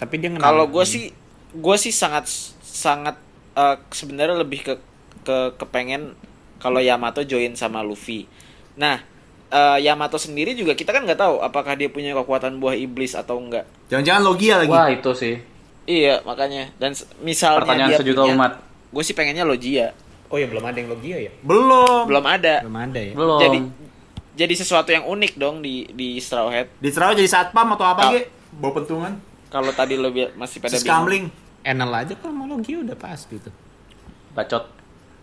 Tapi dia ngenalin- kalau gue sih gue sih sangat sangat eh, sebenarnya lebih ke ke kepengen kalau Yamato join sama Luffy nah eh, Yamato sendiri juga kita kan nggak tahu apakah dia punya kekuatan buah iblis atau enggak Jangan-jangan Logia Hmm. lagi. Wah itu sih. iya makanya dan s- misalnya Pertanyaan dia sejuta umat. gue sih pengennya Logia Oh ya belum ada yang Logia ya? Belum. belum ada Belum ada Iya. ya. Belum. jadi jadi sesuatu yang unik dong di di Straw Hat Di Sarawak jadi satpam atau apa Ah. ge? Bawa pentungan. kalau tadi lo bi- masih pada Si bingung. Scamling. Enel aja kalau sama Logia udah pasti tuh. Bacot.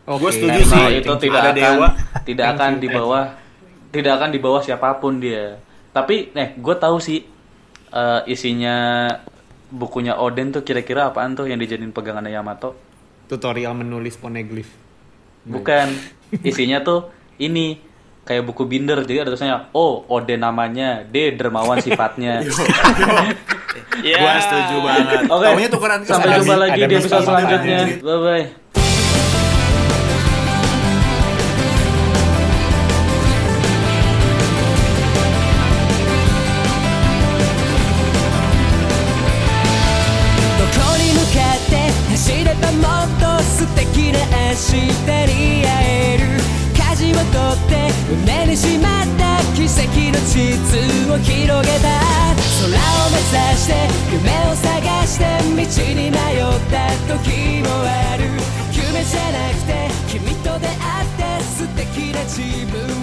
Oke. Gua setuju Karena sih. itu tidak Ada akan dewa. tidak akan di bawah tidak akan di bawah siapapun dia. Tapi eh gue tahu sih eh, isinya bukunya Oden tuh kira-kira apaan tuh yang dijadiin pegangannya Yamato? Tutorial menulis poneglyph. Bukan. Isinya tuh ini kayak buku binder jadi ada tulisannya O Oden namanya, D dermawan sifatnya. Ya. Gua setuju banget. Oke. Tahunya tukeran ke Sampai sana jumpa sih. lagi Ada di episode Mustafa selanjutnya. Bye bye. どこに向かって走ればもっと素敵な明日に会える舵を取って胸にしまった奇跡の地図を広げた空を目指して夢を探して道に迷う時もある夢じゃなくて君と出会って素敵な自分